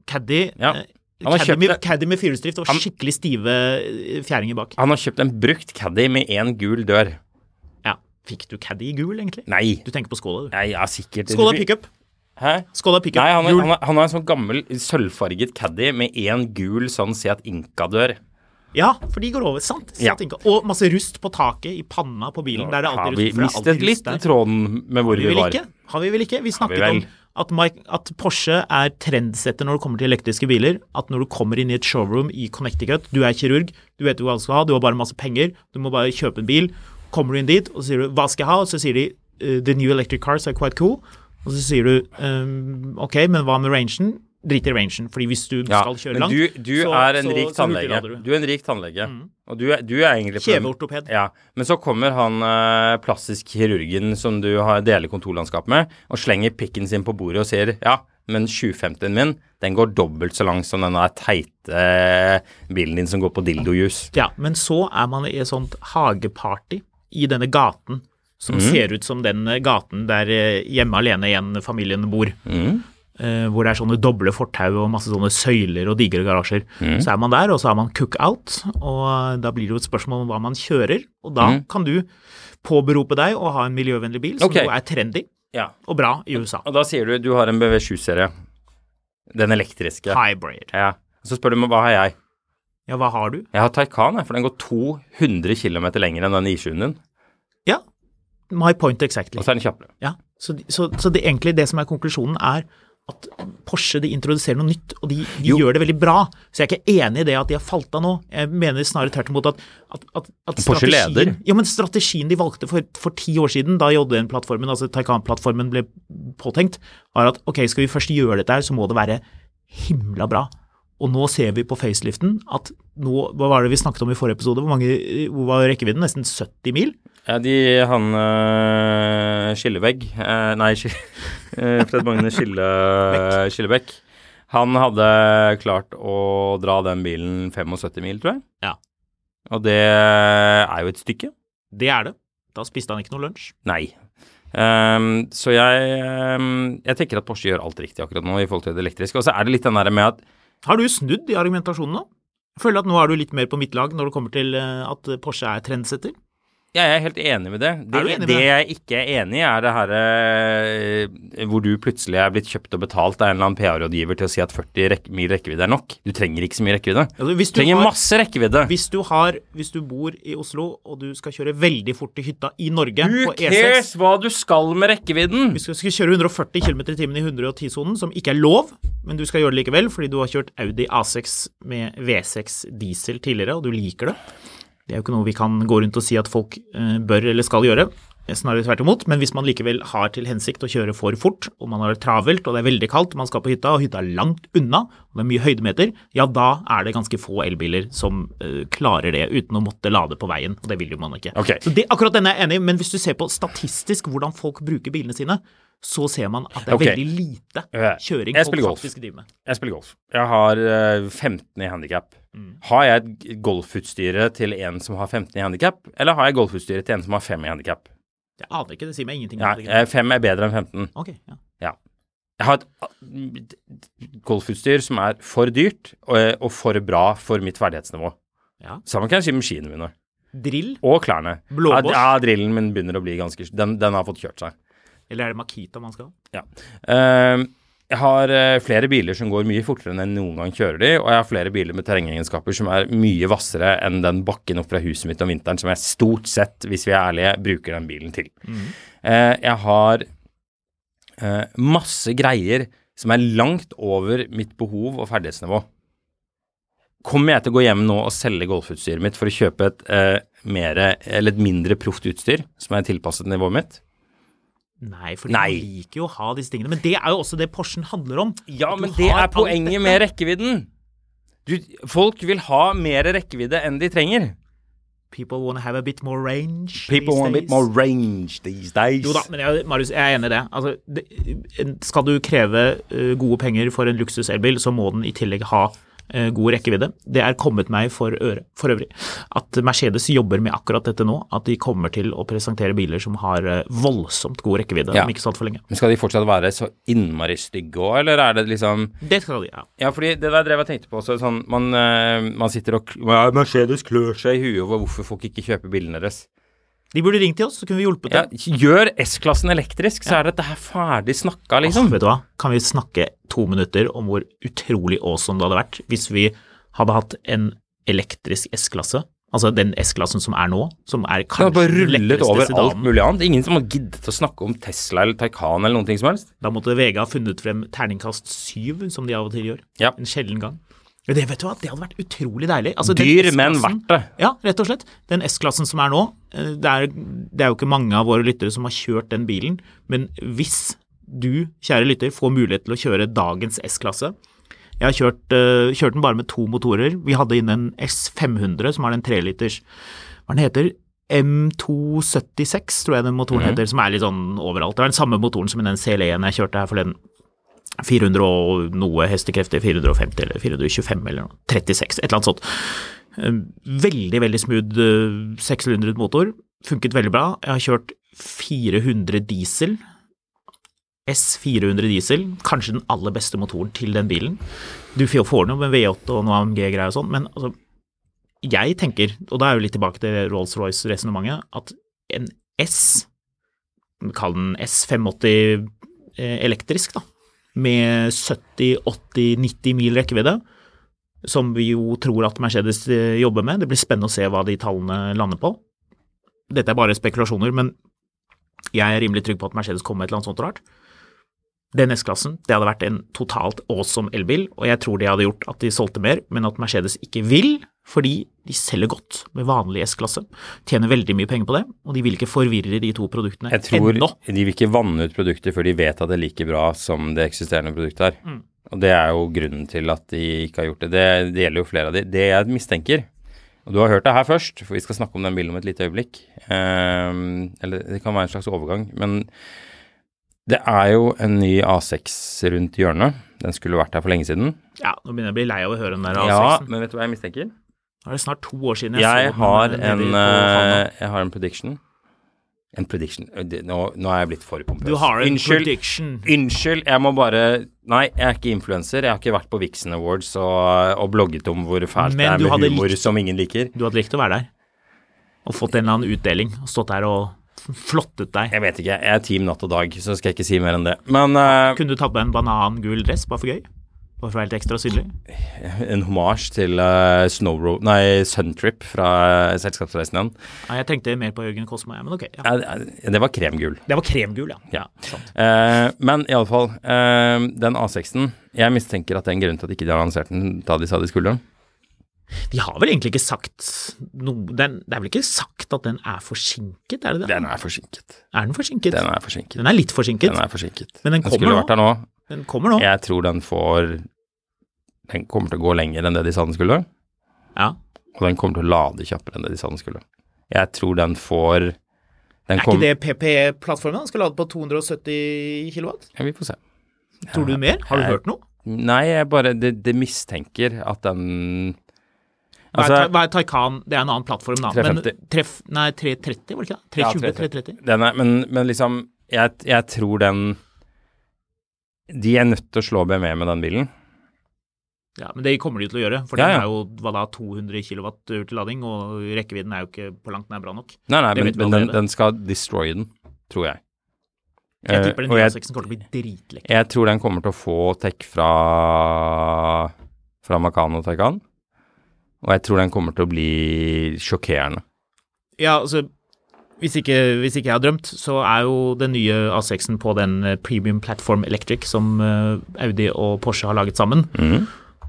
Speaker 2: Caddy,
Speaker 1: Ja.
Speaker 2: eh,
Speaker 1: Han har
Speaker 2: Caddy,
Speaker 1: kjøpt
Speaker 2: med,
Speaker 1: det-
Speaker 2: Caddy med firehjulsdrift og
Speaker 1: Han-
Speaker 2: skikkelig stive eh, fjæringer bak.
Speaker 1: Han har kjøpt en brukt Caddy med én gul dør.
Speaker 2: Ja. Fikk du Caddy i gul, egentlig?
Speaker 1: Nei.
Speaker 2: Du tenker på skåla, du.
Speaker 1: Nei, ja, sikkert.
Speaker 2: Skåla pickup.
Speaker 1: Hæ?
Speaker 2: Skåla pickup.
Speaker 1: Nei, han,
Speaker 2: Gul.
Speaker 1: er, han, er, han har en sånn gammel sølvfarget Caddy med én gul sånn Seat Inca-dør.
Speaker 2: Ja, for de går over. Sant. sant
Speaker 1: Ja.
Speaker 2: tenker jeg. Og masse rust på taket, i panna på bilen. Der det er
Speaker 1: Har
Speaker 2: alltid
Speaker 1: vi
Speaker 2: rust. for det er
Speaker 1: mistet
Speaker 2: alltid rust
Speaker 1: litt
Speaker 2: der.
Speaker 1: tråden med hvor
Speaker 2: vi
Speaker 1: vi
Speaker 2: vel
Speaker 1: var?
Speaker 2: ikke? Har vi vel ikke? Vi snakket
Speaker 1: vel?
Speaker 2: om at, Mike, at Porsche er trendsetter når det kommer til elektriske biler. At når du kommer inn i et showroom i Connecticut, du er kirurg, du vet hva du skal ha, du har bare masse penger, du må bare kjøpe en bil. Kommer du inn dit, og så sier du 'hva skal jeg ha', og så sier de eh, 'the new electric cars are quite cool'. Og så sier du ehm, 'ok, men hva med rangen'? Drit i rangen, fordi hvis du
Speaker 1: Ja,
Speaker 2: skal kjøre
Speaker 1: men
Speaker 2: langt
Speaker 1: du, du
Speaker 2: så-
Speaker 1: er en
Speaker 2: så-
Speaker 1: rik
Speaker 2: så Mm.
Speaker 1: tannlege.
Speaker 2: hurtiglader
Speaker 1: Du er en rik tannlege. Og du, er- du er egentlig på den-
Speaker 2: Kjeveortoped.
Speaker 1: Ja. Men så kommer han eh, plastisk kirurgen som du har, deler kontorlandskap med, og slenger pikken sin på bordet og sier ja, men 750-en min, den går dobbelt så lang som den der teite eh, bilen din som går på dildojus.
Speaker 2: Ja, men så er man i et sånt hageparty i denne gaten, som
Speaker 1: Mm.
Speaker 2: ser ut som den eh, gaten der eh, hjemme alene igjen familien bor.
Speaker 1: Mm.
Speaker 2: Eh, hvor det er sånne doble fortau og masse sånne søyler og digre garasjer.
Speaker 1: Mm.
Speaker 2: Så er man der, og så er man cook-out, og da blir det jo et spørsmål om hva man kjører. Og da kan du påberope deg å ha en miljøvennlig bil, som
Speaker 1: Mm. Ok.
Speaker 2: jo er trendy
Speaker 1: Ja.
Speaker 2: og bra i USA.
Speaker 1: Og da sier du du har en BV7-serie. Den elektriske.
Speaker 2: Hybrid.
Speaker 1: Ja. Så spør du meg hva har jeg?
Speaker 2: Ja, hva har du?
Speaker 1: Jeg har Taycan, jeg, for den går 200 km lenger enn den I7-en din.
Speaker 2: Ja, my point exactly.
Speaker 1: Og så er den kjappere.
Speaker 2: Ja, så, de- så, så det, egentlig det som er konklusjonen er at Porsche de introduserer noe nytt, og de, de
Speaker 1: Jo.
Speaker 2: gjør det veldig bra. Så jeg er ikke enig i det at de har falt av nå. Jeg mener snarere tvert imot at, at, at, at
Speaker 1: Porsche leder.
Speaker 2: Ja, men strategien de valgte for, for ti år siden, da JDN-plattformen, altså Taycan-plattformen, ble påtenkt, var at ok, skal vi først gjøre dette her, så må det være himla bra. Og nå ser vi på faceliften at nå, hva var det vi snakket om i forrige episode, hvor, mange, hvor var rekkevidden? Nesten 70 mil?
Speaker 1: Ja, de Han øh, Skillevegg øh, Nei, <laughs> Skill- øh, Fred Magne Skille, Skillebekk. Han hadde klart å dra den bilen 75 mil, tror jeg.
Speaker 2: Ja.
Speaker 1: Og det er jo et stykke.
Speaker 2: Det er det. Da spiste han ikke noe lunsj.
Speaker 1: Nei. Ehm, så jeg, ehm, jeg tenker at Porsche gjør alt riktig akkurat nå i forhold til det elektriske. Og så er det litt den der med at
Speaker 2: Har du snudd i argumentasjonen nå? Jeg føler at nå er du litt mer på mitt lag når det kommer til eh, at Porsche er trendsetter.
Speaker 1: Jeg er helt enig med det. Det,
Speaker 2: Er du enig med
Speaker 1: det
Speaker 2: det?
Speaker 1: jeg ikke er enig i, er det her eh, hvor du plutselig er blitt kjøpt og betalt av en eller annen PR-rådgiver til å si at 40 rekk mil rekkevidde er nok. Du trenger ikke så mye rekkevidde.
Speaker 2: Altså, hvis du
Speaker 1: trenger
Speaker 2: har-
Speaker 1: masse rekkevidde.
Speaker 2: Hvis du, har, hvis du bor i Oslo og du skal kjøre veldig fort til hytta i Norge
Speaker 1: Who
Speaker 2: på
Speaker 1: cares
Speaker 2: E6
Speaker 1: hva du skal med rekkevidden?
Speaker 2: Hvis du skal kjøre 140 km i timen i 110-sonen, som ikke er lov, men du skal gjøre det likevel fordi du har kjørt Audi A6 med V6 diesel tidligere, og du liker det Det er jo ikke noe vi kan gå rundt og si at folk eh, bør eller skal gjøre. Snarere tvert imot. Men hvis man likevel har til hensikt å kjøre for fort, og man har det travelt, og det er veldig kaldt, man skal på hytta, og hytta er langt unna, og det er mye høydemeter, ja, da er det ganske få elbiler som eh, klarer det uten å måtte lade på veien. Og det vil jo man ikke.
Speaker 1: Ok.
Speaker 2: Så det, akkurat denne er jeg enig i, men hvis du ser på statistisk hvordan folk bruker bilene sine, så ser man at det er
Speaker 1: Ok.
Speaker 2: veldig lite
Speaker 1: Ja.
Speaker 2: kjøring
Speaker 1: Jeg
Speaker 2: folk
Speaker 1: spiller golf.
Speaker 2: faktisk driver med.
Speaker 1: Jeg spiller golf. Jeg har eh, 15 i handikap.
Speaker 2: Mm.
Speaker 1: Har jeg et g- golfutstyre til en som har 15 i handikap, eller har jeg golfutstyret til en som har 5 i handikap?
Speaker 2: Jeg aner ikke, det sier meg ingenting.
Speaker 1: Ja, eh, 5 er bedre enn 15.
Speaker 2: Ok, ja.
Speaker 1: Ja. Jeg har et a- golfutstyr som er for dyrt og, og for bra for mitt verdighetsnivå.
Speaker 2: Ja.
Speaker 1: Samme kan jeg si med skiene mine.
Speaker 2: Drill,
Speaker 1: Og klærne.
Speaker 2: Blåbås?
Speaker 1: Ja, ja, drillen min begynner å bli ganske Den, den har fått kjørt seg.
Speaker 2: eller er det Makita man skal ha?
Speaker 1: Ja. Ehm, jeg har eh, flere biler som går mye fortere enn jeg noen gang kjører de, og jeg har flere biler med terrengegenskaper som er mye vassere enn den bakken opp fra huset mitt om vinteren som jeg stort sett, hvis vi er ærlige, bruker den bilen til. Eh, jeg har eh, masse greier som er langt over mitt behov og ferdighetsnivå. Kommer jeg til å gå hjem nå og selge golfutstyret mitt for å kjøpe et, eh, mere, eller et mindre proft utstyr som er tilpasset nivået mitt?
Speaker 2: Nei, for
Speaker 1: Nei.
Speaker 2: man liker jo å ha disse tingene. Men det er jo også det Porschen handler om.
Speaker 1: Ja,
Speaker 2: At du
Speaker 1: men det
Speaker 2: har
Speaker 1: er
Speaker 2: alt
Speaker 1: poenget
Speaker 2: dette.
Speaker 1: med rekkevidden. Du, folk vil ha mer rekkevidde enn de trenger.
Speaker 2: People wanna have a bit more range.
Speaker 1: People
Speaker 2: these
Speaker 1: want a
Speaker 2: days.
Speaker 1: bit more range these days.
Speaker 2: Jo da, men jeg, Marius, jeg er enig i det. Altså, det en- skal du kreve eh, gode penger for en luksus-elbil, så må den i tillegg ha eh, god rekkevidde. Det er kommet meg for, øre, for øvrig at Mercedes jobber med akkurat dette nå. At de kommer til å presentere biler som har eh, voldsomt god rekkevidde
Speaker 1: Ja.
Speaker 2: om ikke så altfor lenge.
Speaker 1: Men skal de fortsatt være så innmari stygge òg, eller er det liksom
Speaker 2: Det skal de, ja.
Speaker 1: Ja, fordi det der drev jeg tenkte på også. Sånn, man, eh, man sitter og kl- ja, Mercedes klør seg i huet over hvorfor folk ikke kjøper bilene deres.
Speaker 2: De burde ringt til oss, så kunne vi hjulpet dem.
Speaker 1: Ja, gjør S-klassen elektrisk, så er dette her ferdig snakka, liksom.
Speaker 2: Åh, vet du hva? Kan vi snakke to minutter om hvor utrolig awesome det hadde vært hvis vi hadde hatt en elektrisk S-klasse? Altså den S-klassen som er nå, som er
Speaker 1: Det har
Speaker 2: kanskje
Speaker 1: bare
Speaker 2: den
Speaker 1: rullet
Speaker 2: lettreste
Speaker 1: over alt
Speaker 2: sedanen.
Speaker 1: mulig annet. Ingen som har giddet å snakke om Tesla eller Taycan eller noen ting som helst.
Speaker 2: Da måtte VG ha funnet frem terningkast syv, som de av og til gjør.
Speaker 1: Ja.
Speaker 2: En sjelden gang. Men det vet du hva, det hadde vært utrolig deilig. Altså, den
Speaker 1: Dyr, men
Speaker 2: S-klassen-
Speaker 1: verdt det.
Speaker 2: Ja, rett og slett. Den S-klassen som er nå, eh, det er, det er jo ikke mange av våre lyttere som har kjørt den bilen, men hvis du, kjære lytter, får mulighet til å kjøre dagens S-klasse Jeg har kjørt, eh, kjørt den bare med to motorer. Vi hadde inne en S500 som har den treliters Hva den heter M276, tror jeg den motoren
Speaker 1: Mm.
Speaker 2: heter, som er litt sånn overalt. Det er den samme motoren som i den CL1 jeg kjørte her forleden. 400 og noe hestekrefter, 450 eller 425 eller noe, 36, et eller annet sånt. Um, Veldig, veldig smooth uh, sekssylindret motor. Funket veldig bra. Jeg har kjørt 400 diesel. S400 diesel, kanskje den aller beste motoren til den bilen. Du får får den jo med V8 og noe AMG-greier og sånn, men altså, jeg tenker, og da er jo litt tilbake til Rolls-Royce-resonnementet, at en S, kall den S580 eh, elektrisk, da, med 70-80-90 mil rekkevidde, som vi jo tror at Mercedes eh, jobber med. Det blir spennende å se hva de tallene lander på. Dette er bare spekulasjoner, men jeg er rimelig trygg på at Mercedes kommer med et eller annet sånt rart. Den S-klassen, det hadde vært en totalt awesome elbil, og jeg tror det hadde gjort at de solgte mer, men at Mercedes ikke vil, fordi de selger godt med vanlig S-klasse, tjener veldig mye penger på det, og de vil ikke forvirre de to produktene
Speaker 1: Jeg tror
Speaker 2: ennå.
Speaker 1: de vil ikke vanne ut produktet før de vet at det er like bra som det eksisterende produktet er. Og det er jo grunnen til at de ikke har gjort det. Det, det gjelder jo flere av de. Det jeg mistenker, og du har hørt det her først, for vi skal snakke om den bilen om et lite øyeblikk, ehm, eller det kan være en slags overgang, men det er jo en ny A6 rundt hjørnet. Den skulle vært her for lenge siden.
Speaker 2: Ja, nå begynner jeg å bli lei av å høre om den der
Speaker 1: Ja,
Speaker 2: A6-en.
Speaker 1: men vet du hva jeg mistenker?
Speaker 2: Nå er det snart to år siden jeg,
Speaker 1: Jeg
Speaker 2: så
Speaker 1: har
Speaker 2: den
Speaker 1: en,
Speaker 2: nede på Fana.
Speaker 1: eh, jeg har en prediction. En prediction Ø, det- Nå, nå er jeg blitt for pompøs.
Speaker 2: Du har en
Speaker 1: Unnskyld.
Speaker 2: prediction.
Speaker 1: Unnskyld, jeg må bare Nei, jeg er ikke influenser. Jeg har ikke vært på Vixen Awards og, og blogget om hvor fælt
Speaker 2: Men
Speaker 1: det
Speaker 2: du
Speaker 1: er
Speaker 2: hadde
Speaker 1: med humor
Speaker 2: likt-
Speaker 1: som ingen liker.
Speaker 2: Du hadde likt å være der. og fått en eller annen utdeling og stått der og flottet deg.
Speaker 1: Jeg vet ikke, jeg er team natt og dag, så skal jeg ikke si mer enn det. Men eh,
Speaker 2: Kunne du tatt på deg en banangul dress bare for gøy? Bare for å være litt ekstra synlig?
Speaker 1: en hommage til eh, Snow Road, nei, Suntrip fra eh, Selskapsreisen igjen.
Speaker 2: Nei, jeg tenkte mer på Jørgen Kosmo, jeg, men ok. Ja.
Speaker 1: Eh, eh, det var kremgull.
Speaker 2: Det var kremgul, ja.
Speaker 1: Ja. Eh, men iallfall, uh, den A6-en Jeg mistenker at det er en grunn til at ikke de har lansert den da de sa de skulle.
Speaker 2: De har vel egentlig ikke sagt noe den, Det er vel ikke sagt at den er forsinket, er det det?
Speaker 1: Den er forsinket.
Speaker 2: Er den forsinket?
Speaker 1: Den er forsinket.
Speaker 2: Den er litt forsinket.
Speaker 1: Den er forsinket.
Speaker 2: Men den kommer
Speaker 1: skulle
Speaker 2: nå.
Speaker 1: vært der nå.
Speaker 2: Den kommer nå.
Speaker 1: Jeg tror den får Den kommer til å gå lenger enn det de sa den skulle,
Speaker 2: Ja.
Speaker 1: og den kommer til å lade kjappere enn det de sa den skulle. Jeg tror den får den
Speaker 2: Er ikke det PP-plattformen? Den skal lade på 270 kW?
Speaker 1: Ja, vi får se.
Speaker 2: Tror du mer? Har du
Speaker 1: Jeg-
Speaker 2: hørt noe?
Speaker 1: Nei, jeg bare det, det mistenker at den
Speaker 2: Hva er,
Speaker 1: Altså-
Speaker 2: ta- hva er Taycan? Det er en annen plattform, da.
Speaker 1: 350.
Speaker 2: Men treff, nei, 330, var det ikke det? 320, 330.
Speaker 1: Den er, men, men liksom, jeg, jeg tror den De er nødt til å slå BMW med den bilen.
Speaker 2: Ja, Men det kommer de til å gjøre, for
Speaker 1: Ja, ja.
Speaker 2: den er jo hva da, 200 kW til lading, og rekkevidden er jo ikke på langt nær bra nok.
Speaker 1: Nei, nei,
Speaker 2: Det
Speaker 1: men,
Speaker 2: vet vi
Speaker 1: men den,
Speaker 2: allerede.
Speaker 1: den skal destroy den, tror jeg.
Speaker 2: Jeg
Speaker 1: Eh,
Speaker 2: tipper den
Speaker 1: og jeg,
Speaker 2: 906-en kommer til å bli dritlekker.
Speaker 1: jeg tror den kommer til å få tech fra fra Macan og Taycan. Og jeg tror den kommer til å bli sjokkerende.
Speaker 2: Ja, altså, hvis ikke, hvis ikke jeg har drømt, så er jo den nye A6-en på den eh, Premium Platform Electric som eh, Audi og Porsche har laget sammen.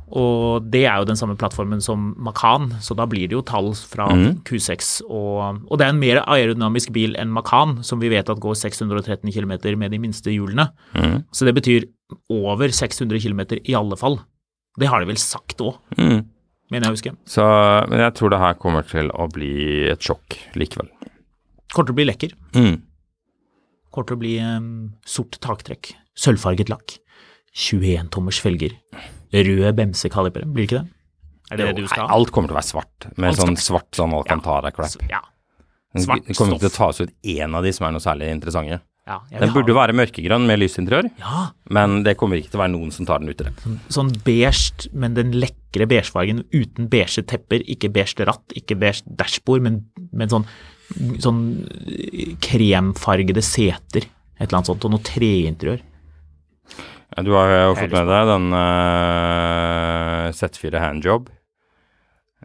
Speaker 2: Og det er jo den samme plattformen som Macan, så da blir det jo tall fra Q6. Og, og det er en mer aerodynamisk bil enn Macan, som vi vet at går 613 km med de minste hjulene. Så det betyr over 600 km i alle fall. Det har de vel sagt òg, mener jeg å huske.
Speaker 1: Så, men jeg tror det her kommer til å bli et sjokk likevel.
Speaker 2: Kommer til å bli lekker.
Speaker 1: Mm.
Speaker 2: Kommer til å bli em, sort taktrekk, sølvfarget lakk, 21 tommers felger, røde bemsekalipere, blir det ikke det? Er det
Speaker 1: Jo,
Speaker 2: det du skal
Speaker 1: nei,
Speaker 2: ha?
Speaker 1: Alt kommer til å være svart, med
Speaker 2: Alt skal
Speaker 1: sånn
Speaker 2: være
Speaker 1: svart sånn Alcantara-crap.
Speaker 2: Ja.
Speaker 1: Den
Speaker 2: Svart
Speaker 1: den kommer ikke til å
Speaker 2: stoff.
Speaker 1: tas ut én av de som er noe særlig interessante.
Speaker 2: ja jeg vil
Speaker 1: Den
Speaker 2: ha-
Speaker 1: burde være mørkegrønn med lysinteriør,
Speaker 2: Ja,
Speaker 1: men det kommer ikke til å være noen som tar den ut i det.
Speaker 2: sånn beige, men den lekre beigefargen uten beige tepper, ikke beige ratt, ikke beige dashbord, men, men sånn, sånn kremfargede seter, et eller annet sånt, og noe treinteriør.
Speaker 1: Du har jo fått med deg den eh, Z4 handjob,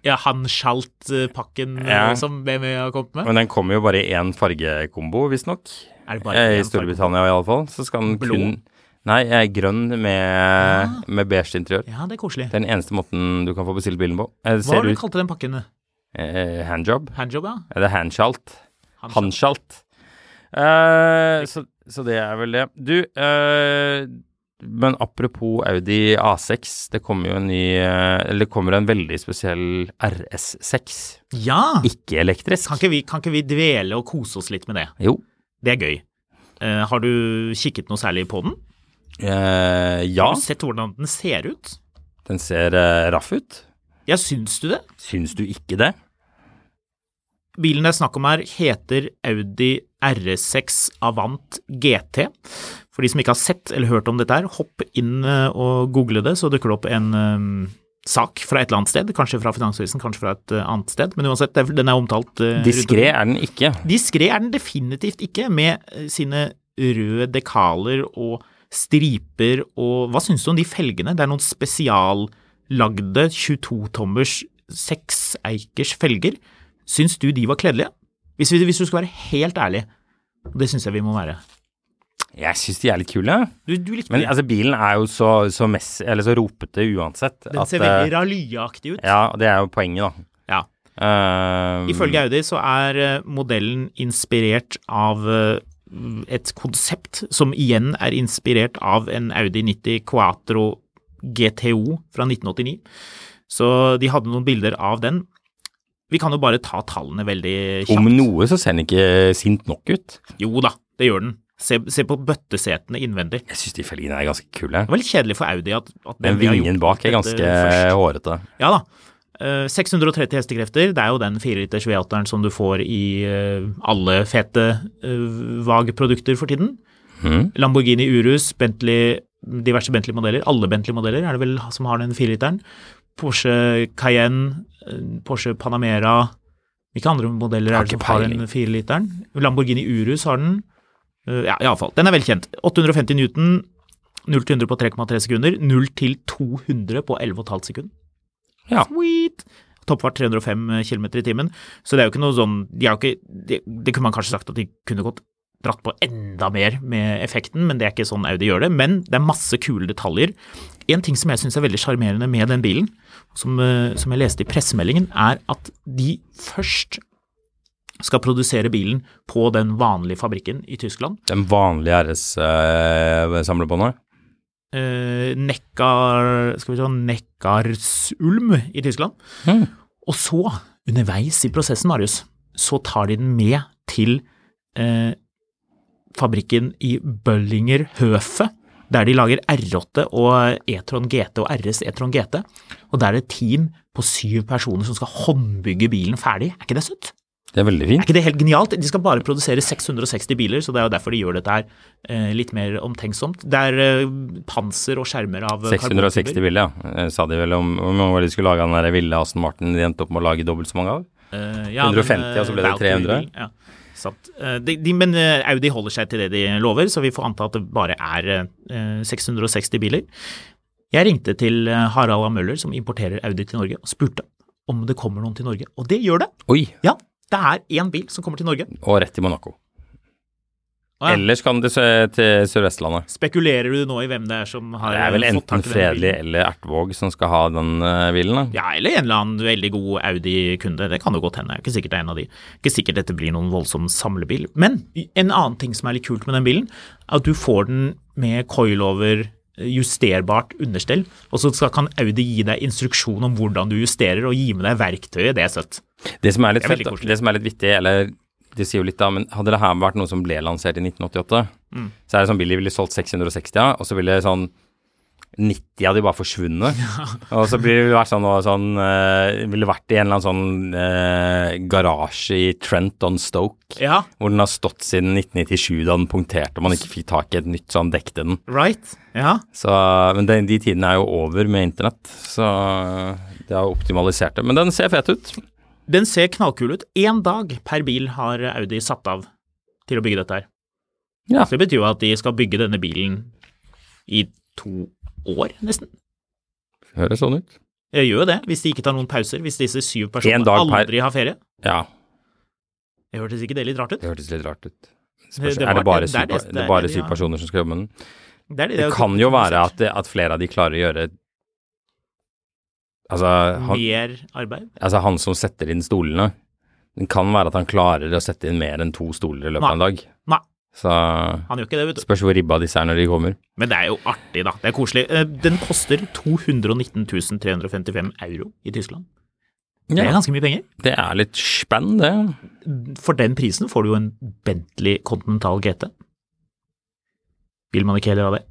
Speaker 2: Ja, Hanschalt-pakken
Speaker 1: Ja.
Speaker 2: eh, som BMW har kommet med.
Speaker 1: men den kommer jo bare i én fargekombo, visstnok.
Speaker 2: Er det bare
Speaker 1: Eh, I
Speaker 2: én farge?
Speaker 1: Storbritannia iallfall. Så skal den
Speaker 2: Blå? Ah.
Speaker 1: kun Nei, eh, grønn med, med beige interiør.
Speaker 2: Ja, det er koselig.
Speaker 1: Det er den eneste måten du kan få bestilt bilen på. Eh, Det
Speaker 2: Hva
Speaker 1: ser
Speaker 2: var det du
Speaker 1: ut
Speaker 2: kalte den pakken?
Speaker 1: eh, Handjob?
Speaker 2: Handjob, ja?
Speaker 1: Er det handshalt?
Speaker 2: Handshalt.
Speaker 1: Handshalt. Eh, så, så det er vel det. Du, eh, men apropos Audi A6, det kommer jo en ny eh, Eller det kommer en veldig spesiell RS6.
Speaker 2: Ja!
Speaker 1: Ikke elektrisk.
Speaker 2: Kan ikke, vi, kan ikke vi dvele og kose oss litt med det?
Speaker 1: Jo.
Speaker 2: Det er gøy. Eh, har du kikket noe særlig på den?
Speaker 1: Eh, ja,
Speaker 2: Har du sett hvordan den ser ut?
Speaker 1: den ser eh, raff ut.
Speaker 2: Ja, syns du det?
Speaker 1: Syns du ikke det?
Speaker 2: Bilen det er snakk om her, heter Audi R6 Avant GT. For de som ikke har sett eller hørt om dette her, hopp inn eh, og google det, så dukker det opp en eh, sak fra et eller annet sted. Kanskje fra Finansavisen, kanskje fra et eh, annet sted. Men uansett, det er- den er omtalt uh,
Speaker 1: Diskré er den ikke.
Speaker 2: Diskré er den definitivt ikke, med eh, sine røde dekaler og striper og Hva syns du om de felgene? Det er noen spesiallagde 22-tommers sekseikers felger. Syns du de var kledelige? Hvis, vi- hvis du skal være helt ærlig, og det syns jeg vi må være.
Speaker 1: Jeg syns de er litt kule.
Speaker 2: Du, du likte
Speaker 1: Men
Speaker 2: de.
Speaker 1: altså, bilen er jo så, så, mess, eller så ropete uansett.
Speaker 2: Den ser
Speaker 1: eh,
Speaker 2: veldig rallyaktig ut.
Speaker 1: Ja, og det er jo poenget, da.
Speaker 2: Ja.
Speaker 1: Um,
Speaker 2: Ifølge Audi så er eh, modellen inspirert av eh, et konsept som igjen er inspirert av en Audi 90 Quatro GTO fra 1989. Så de hadde noen bilder av den. Vi kan jo bare ta tallene veldig kjapt.
Speaker 1: Om noe så ser den ikke eh, sint nok ut.
Speaker 2: Jo da, det gjør den. Se, se på bøttesetene innvendig.
Speaker 1: Jeg syns de felgene er ganske kule.
Speaker 2: Det var litt kjedelig for Audi at, at
Speaker 1: Den
Speaker 2: BMW har gjort
Speaker 1: vingen bak er
Speaker 2: dette
Speaker 1: ganske
Speaker 2: først.
Speaker 1: hårete.
Speaker 2: Ja da. Eh, 630 hestekrefter, det er jo den 4-liters V8-eren som du får i eh, alle fete eh, VAG-produkter for tiden.
Speaker 1: Mm.
Speaker 2: Lamborghini Urus, Bentley, diverse Bentley-modeller, alle Bentley-modeller er det vel som har den 4-literen. Porsche Cayenne, eh, Porsche Panamera, Hvilke andre modeller
Speaker 1: Har
Speaker 2: er det
Speaker 1: ikke
Speaker 2: som har
Speaker 1: peiling.
Speaker 2: den 4-literen? Lamborghini Urus har den. Eh, Ja, iallfall. Den er velkjent. 850 newton, 0 til 100 på 3,3 sekunder. 0 til 200 på 11,5 sekunder.
Speaker 1: Ja.
Speaker 2: Sweet! Toppfart 305 km eh, i timen. Så det er jo ikke noe sånn de har jo ikke, det, det kunne man kanskje sagt at de kunne gått dratt på enda mer med effekten, men det er ikke sånn Audi gjør det. Men det er masse kule detaljer. En ting som jeg syns er veldig sjarmerende med den bilen, som, eh, som jeg leste i pressemeldingen, er at de først skal produsere bilen på den vanlige fabrikken i Tyskland.
Speaker 1: Den vanlige RS-samlebåndet?
Speaker 2: eh, Neckar, skal vi se, Neckarsulm i Tyskland. Og så, underveis i prosessen, Marius, så tar de den med til eh, fabrikken i Böllinger Høfe, der de lager R8 og E-tron GT og RS E-tron GT. Og der er det et team på syv personer som skal håndbygge bilen ferdig. Er ikke det søtt?
Speaker 1: det er veldig
Speaker 2: Er
Speaker 1: fint.
Speaker 2: ikke det helt genialt? De skal bare produsere 660 biler, så det er jo derfor de gjør dette her eh, litt mer omtenksomt. Det er eh, panser og skjermer av eh,
Speaker 1: 660
Speaker 2: karbonfiber.
Speaker 1: biler, ja. Eh, Sa de vel om hvor mange var det de skulle lage av den der ville Aston Martin de endte opp med å lage dobbelt så mange av?
Speaker 2: Eh, ja,
Speaker 1: 150,
Speaker 2: men, eh,
Speaker 1: og altså, så ble det
Speaker 2: Valkyrie
Speaker 1: 300.
Speaker 2: bil, Ja, sant. Eh, de, de, men eh, Audi holder seg til det de lover, så vi får anta at det bare er eh, 660 biler. Jeg ringte til eh, Harald A. Møller, som importerer Audi til Norge, og spurte om det kommer noen til Norge. Og det gjør det!
Speaker 1: Oi!
Speaker 2: Ja, det er én bil som kommer til Norge.
Speaker 1: Og rett til Monaco.
Speaker 2: Å ja.
Speaker 1: Ellers kan det se til Sør-Vestlandet.
Speaker 2: Spekulerer du nå i hvem det er som har
Speaker 1: Det er vel
Speaker 2: eh, fått tak
Speaker 1: enten
Speaker 2: i denne bilen?
Speaker 1: Fredelig eller Ertvåg som skal ha den eh, bilen, da.
Speaker 2: Ja, eller en eller annen veldig god Audi-kunde. Det kan jo godt hende. Det er Ikke sikkert det er en av de. Ikke sikkert dette blir noen voldsom samlebil. Men en annen ting som er litt kult med den bilen, er at du får den med coilover, justerbart understell, og så skal- kan Audi gi deg instruksjon om hvordan du justerer, og gi med deg verktøyet. Det er søtt.
Speaker 1: Det som er litt
Speaker 2: Det er
Speaker 1: fett,
Speaker 2: veldig koselig.
Speaker 1: det som er litt vittig, eller det sier jo litt da, men hadde det her vært noe som ble lansert i 1988,
Speaker 2: Mm.
Speaker 1: så er det sånn bil de ville solgt 660 av, og så ville sånn 90 av de bare forsvunnet. Og så blir det vært sånn, og sånn eh, ville vært i en eller annen sånn eh, garasje i Trent on Stoke,
Speaker 2: Ja,
Speaker 1: hvor den har stått siden 1997 da den punkterte og man ikke fikk tak i et nytt, så han dekte den.
Speaker 2: right? Ja.
Speaker 1: Så, men de, de tidene er jo over med internett, så det har optimalisert det. Men den ser fet ut.
Speaker 2: Den ser knallkul ut. Én dag per bil har Audi satt av til å bygge dette her.
Speaker 1: Ja.
Speaker 2: Så det betyr jo at de skal bygge denne bilen i to år, nesten.
Speaker 1: Høres sånn ut.
Speaker 2: Jeg gjør jo det, hvis de ikke tar noen pauser. Hvis disse syv
Speaker 1: En
Speaker 2: personene
Speaker 1: dag per-
Speaker 2: aldri har ferie.
Speaker 1: Ja,
Speaker 2: Jeg hørtes ikke det litt rart ut?
Speaker 1: Det hørtes litt rart ut.
Speaker 2: Det-
Speaker 1: Spørs,
Speaker 2: det
Speaker 1: er det
Speaker 2: var-
Speaker 1: bare
Speaker 2: det- det er
Speaker 1: syv,
Speaker 2: det-
Speaker 1: det
Speaker 2: det
Speaker 1: er
Speaker 2: er
Speaker 1: bare
Speaker 2: det de
Speaker 1: syv
Speaker 2: har.
Speaker 1: personer som skal jobbe med den?
Speaker 2: Det, er det,
Speaker 1: Det
Speaker 2: er
Speaker 1: kan jo være at, at flere av de klarer å gjøre altså han,
Speaker 2: Mer arbeid?
Speaker 1: altså, han som setter inn stolene Det kan være at han klarer å sette inn mer enn to stoler i løpet av en dag.
Speaker 2: Nei,
Speaker 1: Så
Speaker 2: han gjør ikke det, vet du.
Speaker 1: spørs hvor ribba disse er når de kommer.
Speaker 2: Men det er jo artig, da. Det er koselig. Eh, Den koster 219 355 euro i Tyskland. Det er
Speaker 1: Ja,
Speaker 2: ganske mye penger.
Speaker 1: det er litt spenn, det.
Speaker 2: For den prisen får du jo en Bentley Continental GT. Vil man ikke heller ha det?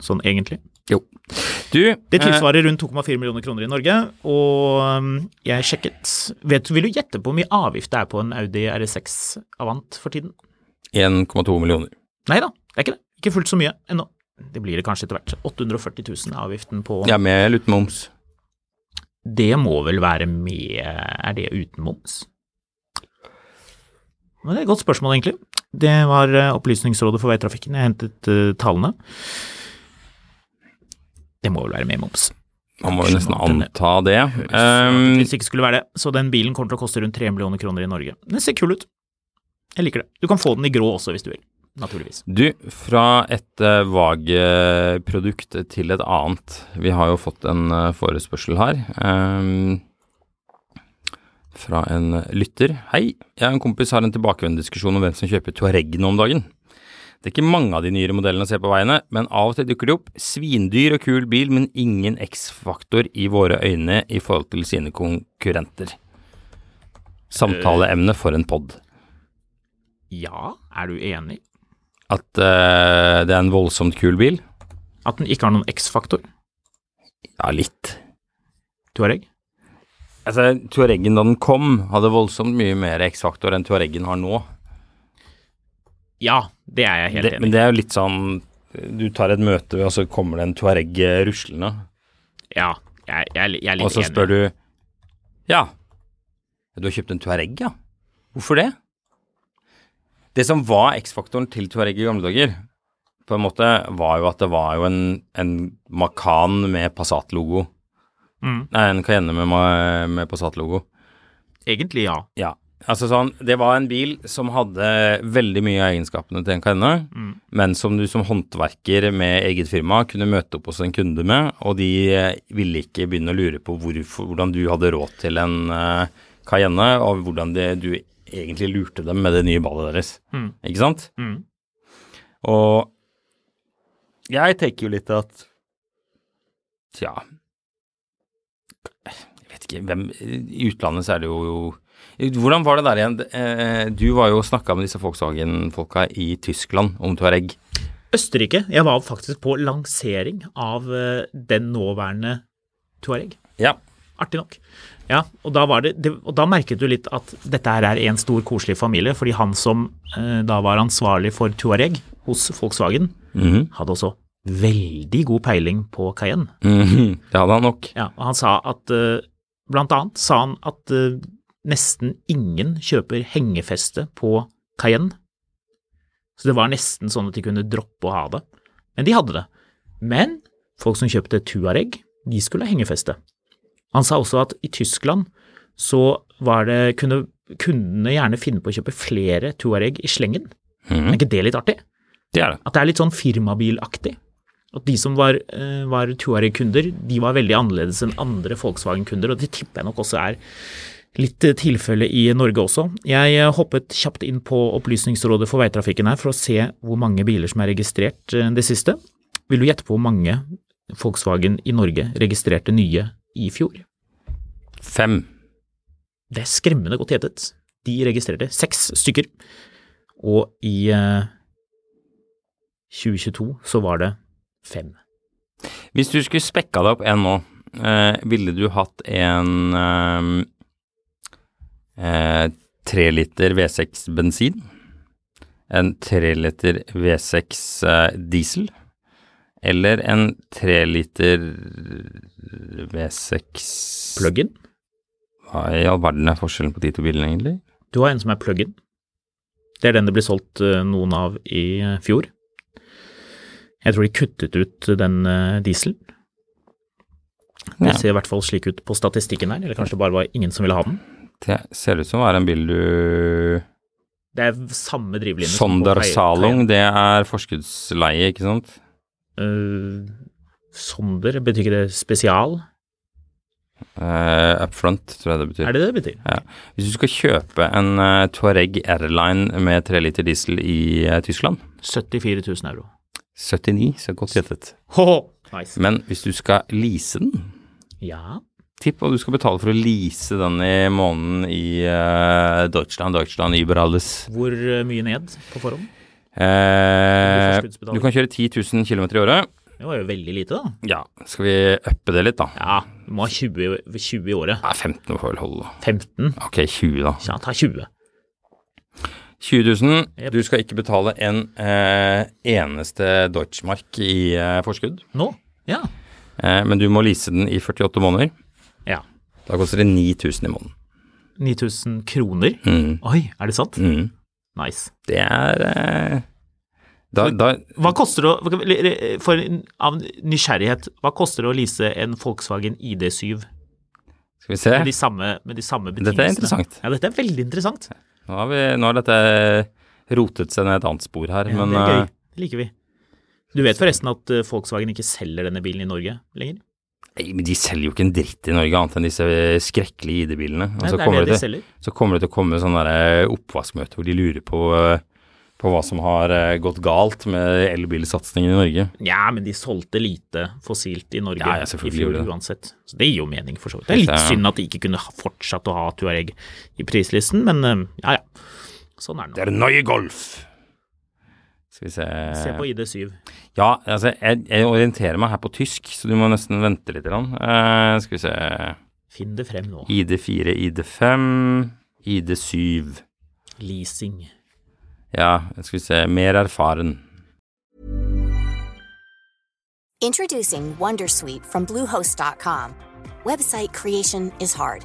Speaker 2: Sånn egentlig.
Speaker 1: Jo. Du eh,
Speaker 2: Det tilsvarer rundt 2,4 millioner kroner i Norge, og um, jeg sjekket. Vet, vil du gjette på hvor mye avgift det er på en Audi RS6 Avant for tiden?
Speaker 1: eh, 1,2 millioner.
Speaker 2: Nei da, det er ikke det. Ikke fullt så mye ennå. Det blir det kanskje etter hvert. 840 000 er avgiften på
Speaker 1: Jeg er med eller uten moms?
Speaker 2: Det må vel være med Er det uten moms? Men det er et godt spørsmål, egentlig. Det var eh, Opplysningsrådet for veitrafikken. Jeg hentet eh, tallene. Det må vel være med moms.
Speaker 1: Man må jo nesten anta det.
Speaker 2: Så
Speaker 1: Um,
Speaker 2: Hvis det ikke skulle være det. Så den bilen kommer til å koste rundt 3 millioner kroner i Norge. Den ser kul ut. Jeg liker det. Du kan få den i grå også, hvis du vil. Naturligvis.
Speaker 1: Du, fra et eh, VAG-produkt til et annet. Vi har jo fått en eh, forespørsel her. ehm, fra en lytter. Hei, jeg og en kompis har en tilbakevendende diskusjon om hvem som kjøper Touareg nå om dagen. Det er ikke mange av de nyere modellene å se på veiene, men av og til dukker de opp. Svindyr og kul bil, men ingen X-faktor i våre øyne i forhold til sine konkurrenter. Samtaleemne for en pod.
Speaker 2: Ja, er du enig?
Speaker 1: At eh, det er en voldsomt kul bil.
Speaker 2: At den ikke har noen X-faktor?
Speaker 1: Ja, litt.
Speaker 2: Touareg?
Speaker 1: Altså, Tuareggen da den kom, hadde voldsomt mye mer X-faktor enn Tuareggen har nå.
Speaker 2: Ja, det er jeg helt
Speaker 1: Det, men
Speaker 2: enig i.
Speaker 1: det er jo litt sånn Du tar et møte, og så kommer det en Tuareg eh, ruslende,
Speaker 2: Ja, jeg, jeg, jeg er litt
Speaker 1: og så
Speaker 2: enig.
Speaker 1: spør du Ja, Du har kjøpt en Touareg, ja. Hvorfor det? Det som var X-faktoren til Touareg i gamle dager, på en måte, var jo at det var jo en, en Macan med Passat-logo.
Speaker 2: Mm.
Speaker 1: Nei, en Cayenne med, ma- med Passat-logo.
Speaker 2: Egentlig ja.
Speaker 1: Ja. Altså sånn, Det var en bil som hadde veldig mye av egenskapene til en Cayenne, men som du som håndverker med eget firma kunne møte opp hos en kunde med, og de eh, ville ikke begynne å lure på hvorfor, hvordan du hadde råd til en eh, Cayenne, og hvordan det, du egentlig lurte dem med det nye ballet deres. Ikke sant?
Speaker 2: Mm.
Speaker 1: Og jeg tenker jo litt at Tja Jeg vet ikke hvem I utlandet så er det jo Hvordan var det der igjen? Eh, Du var jo og snakka med disse Volkswagen-folka i Tyskland om Touareg.
Speaker 2: Østerrike. Jeg var faktisk på lansering av eh, den nåværende Tuareg.
Speaker 1: Ja.
Speaker 2: Artig nok. Ja, og da, var det, det, og da merket du litt at dette her er en stor, koselig familie, fordi han som eh, da var ansvarlig for Tuareg hos Volkswagen, hadde også veldig god peiling på Cayenne.
Speaker 1: Mhm. Det hadde han nok.
Speaker 2: Ja, og han sa at eh, Blant annet sa han at eh, nesten ingen kjøper hengefeste på Cayenne. Så det var nesten sånn at de kunne droppe å ha det. Men de hadde det. Men folk som kjøpte Tuareg, de skulle ha hengefeste. Han sa også at i Tyskland så var det, kunne kundene gjerne finne på å kjøpe flere Tuareg i slengen. Er ikke det litt artig?
Speaker 1: Det er det.
Speaker 2: At det er litt sånn firmabilaktig. At de som var, eh, var Tuareg-kunder, de var veldig annerledes enn andre Volkswagen-kunder, og det tipper jeg nok også er litt eh, tilfelle i Norge også. Jeg eh, hoppet kjapt inn på Opplysningsrådet for veitrafikken her for å se hvor mange biler som er registrert eh, det siste. Vil du gjette på hvor mange Volkswagen i Norge registrerte nye i fjor?
Speaker 1: Fem.
Speaker 2: Det er skremmende godt gjettet. De registrerte seks stykker, og i eh, 2022 så var det fem.
Speaker 1: Hvis du skulle spekka deg opp en nå, eh, ville du hatt en eh, eh, 3 liter V6 bensin, en 3 liter V6 eh, diesel, eller en 3 liter V6
Speaker 2: Plug-in.
Speaker 1: Hva i all verden er forskjellen på de to bilene, egentlig?
Speaker 2: Du har en som er plug-in. Det er den det ble solgt eh, noen av i eh, fjor. Jeg tror de kuttet ut den eh, dieselen. Det
Speaker 1: Ja.
Speaker 2: ser i hvert fall slik ut på statistikken her, eller kanskje det bare var ingen som ville ha den.
Speaker 1: Det ser ut som å være en bil du
Speaker 2: Det er samme drivlinje
Speaker 1: Sonder
Speaker 2: Cay-
Speaker 1: Salung, det er forskuddsleie, ikke sant?
Speaker 2: Cayenne. Eh, Sonder, betyr ikke det spesial?
Speaker 1: Uh, Upfront, tror jeg det betyr.
Speaker 2: Er det det det betyr?
Speaker 1: Ja. Hvis du skal kjøpe en eh, Touareg Airline med 3 liter diesel i eh, Tyskland,
Speaker 2: 74 000 euro.
Speaker 1: 79, så godt gjettet.
Speaker 2: Ho-ho! Nice.
Speaker 1: Men hvis du skal lease den,
Speaker 2: Ja.
Speaker 1: tipp hva du skal betale for å lease den i måneden i eh, Deutschland, Deutschland, Über alles.
Speaker 2: Hvor eh, mye ned på forhånd?
Speaker 1: Eh,
Speaker 2: Blir forskuddsbetaling.
Speaker 1: du kan kjøre 10 000 km i året.
Speaker 2: Det var jo veldig lite, da.
Speaker 1: Ja, skal vi uppe det litt, da?
Speaker 2: Ja, du må ha 20, i- 20 i året.
Speaker 1: Nei, 15 får vel holde. da.
Speaker 2: 15?
Speaker 1: Ok, 20, da.
Speaker 2: Ja, ta 20.
Speaker 1: 20 000.
Speaker 2: Jep.
Speaker 1: Du skal ikke betale en eh, eneste Deutschmark i eh, forskudd.
Speaker 2: Nå? Ja.
Speaker 1: Eh, men du må lease den i 48 måneder.
Speaker 2: ja.
Speaker 1: Da koster det 9000 i måneden.
Speaker 2: 9000 kroner? Oi, er det sant?
Speaker 1: Mm.
Speaker 2: Nice.
Speaker 1: Det er eh, da, da,
Speaker 2: Hva koster det å hva- For av nysgjerrighet, hva koster det å lease en Volkswagen ID7
Speaker 1: Skal vi se.
Speaker 2: med de samme, med de samme betingelsene?
Speaker 1: Dette er interessant.
Speaker 2: Ja, dette er veldig interessant.
Speaker 1: Nå har, vi, nå har dette rotet seg ned et annet spor her,
Speaker 2: Ja,
Speaker 1: men
Speaker 2: det
Speaker 1: eh,
Speaker 2: er gøy. Det liker vi. Du vet forresten at eh, Volkswagen ikke selger denne bilen i Norge
Speaker 1: eh,
Speaker 2: lenger?
Speaker 1: nei, men de selger jo ikke en dritt i Norge annet enn disse skrekkelige ID-bilene. Og
Speaker 2: Nei,
Speaker 1: så
Speaker 2: det er
Speaker 1: kommer
Speaker 2: det de
Speaker 1: det til-
Speaker 2: selger.
Speaker 1: så kommer det til å komme sånne der eh, oppvaskmøter hvor de lurer på, eh, på hva som har eh, gått galt med elbilsatsingen i Norge.
Speaker 2: Nja, men de solgte lite fossilt i Norge
Speaker 1: Ja, ja, selvfølgelig
Speaker 2: i fjor
Speaker 1: gjorde de det.
Speaker 2: uansett. Så det gir jo mening, for så vidt. Det er litt
Speaker 1: Ja, ja.
Speaker 2: synd at de ikke kunne ha- fortsatt å ha Tuareg i prislisten, men eh, ja ja. Sånn er det nå.
Speaker 1: er nøye golf! Skal vi se
Speaker 2: Se på ID7.
Speaker 1: Ja, altså, jeg, jeg orienterer meg her på tysk, så du må nesten vente litt. grann. Eh, skal vi se
Speaker 2: Finn det frem nå.
Speaker 1: ID4, ID5, ID7.
Speaker 2: Leasing.
Speaker 1: Ja, skal vi se Mer erfaren.
Speaker 3: Introducing Wondersuite from Bluehost.com. Website creation is hard,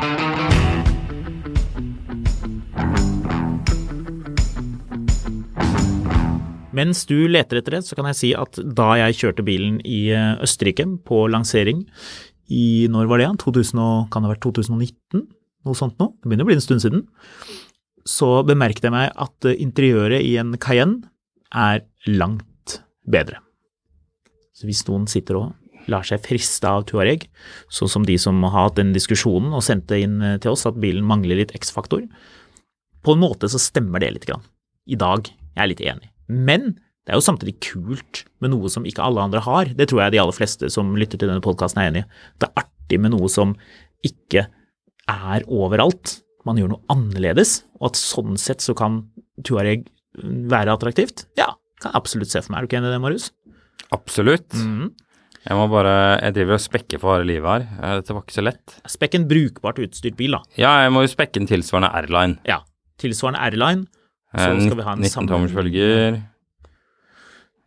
Speaker 2: Mens du leter etter det, så kan jeg si at da jeg kjørte bilen i eh, Østerrike på lansering i Når var det? igjen? 2000 og, kan det ha vært 2019? Noe sånt nå. Det begynner å bli en stund siden. Så bemerket jeg meg at eh, interiøret i en Cayenne er langt bedre. Så hvis noen sitter og lar seg friste av Tuareg, sånn som de som har hatt den diskusjonen og sendte inn eh, til oss at bilen mangler litt X-faktor, på en måte så stemmer det litt grann. I dag. Jeg er litt enig. Men det er jo samtidig kult med noe som ikke alle andre har. Det tror jeg de aller fleste som lytter til denne podkasten er enig i. Det er artig med noe som ikke er overalt. Man gjør noe annerledes, og at sånn sett så kan Tuareg være attraktivt. Ja, kan jeg absolutt se for meg. Er du ikke enig i det, Marius?
Speaker 1: Absolutt. Jeg må bare Jeg driver og spekker for harde livet her. Eh, Dette var ikke så lett.
Speaker 2: Spekk en brukbart utstyrt bil, da.
Speaker 1: Ja, jeg må jo spekke en tilsvarende airline.
Speaker 2: Ja. Tilsvarende airline. Så
Speaker 1: Eh,
Speaker 2: skal vi ha en
Speaker 1: 19 tommers
Speaker 2: sammen-
Speaker 1: følger.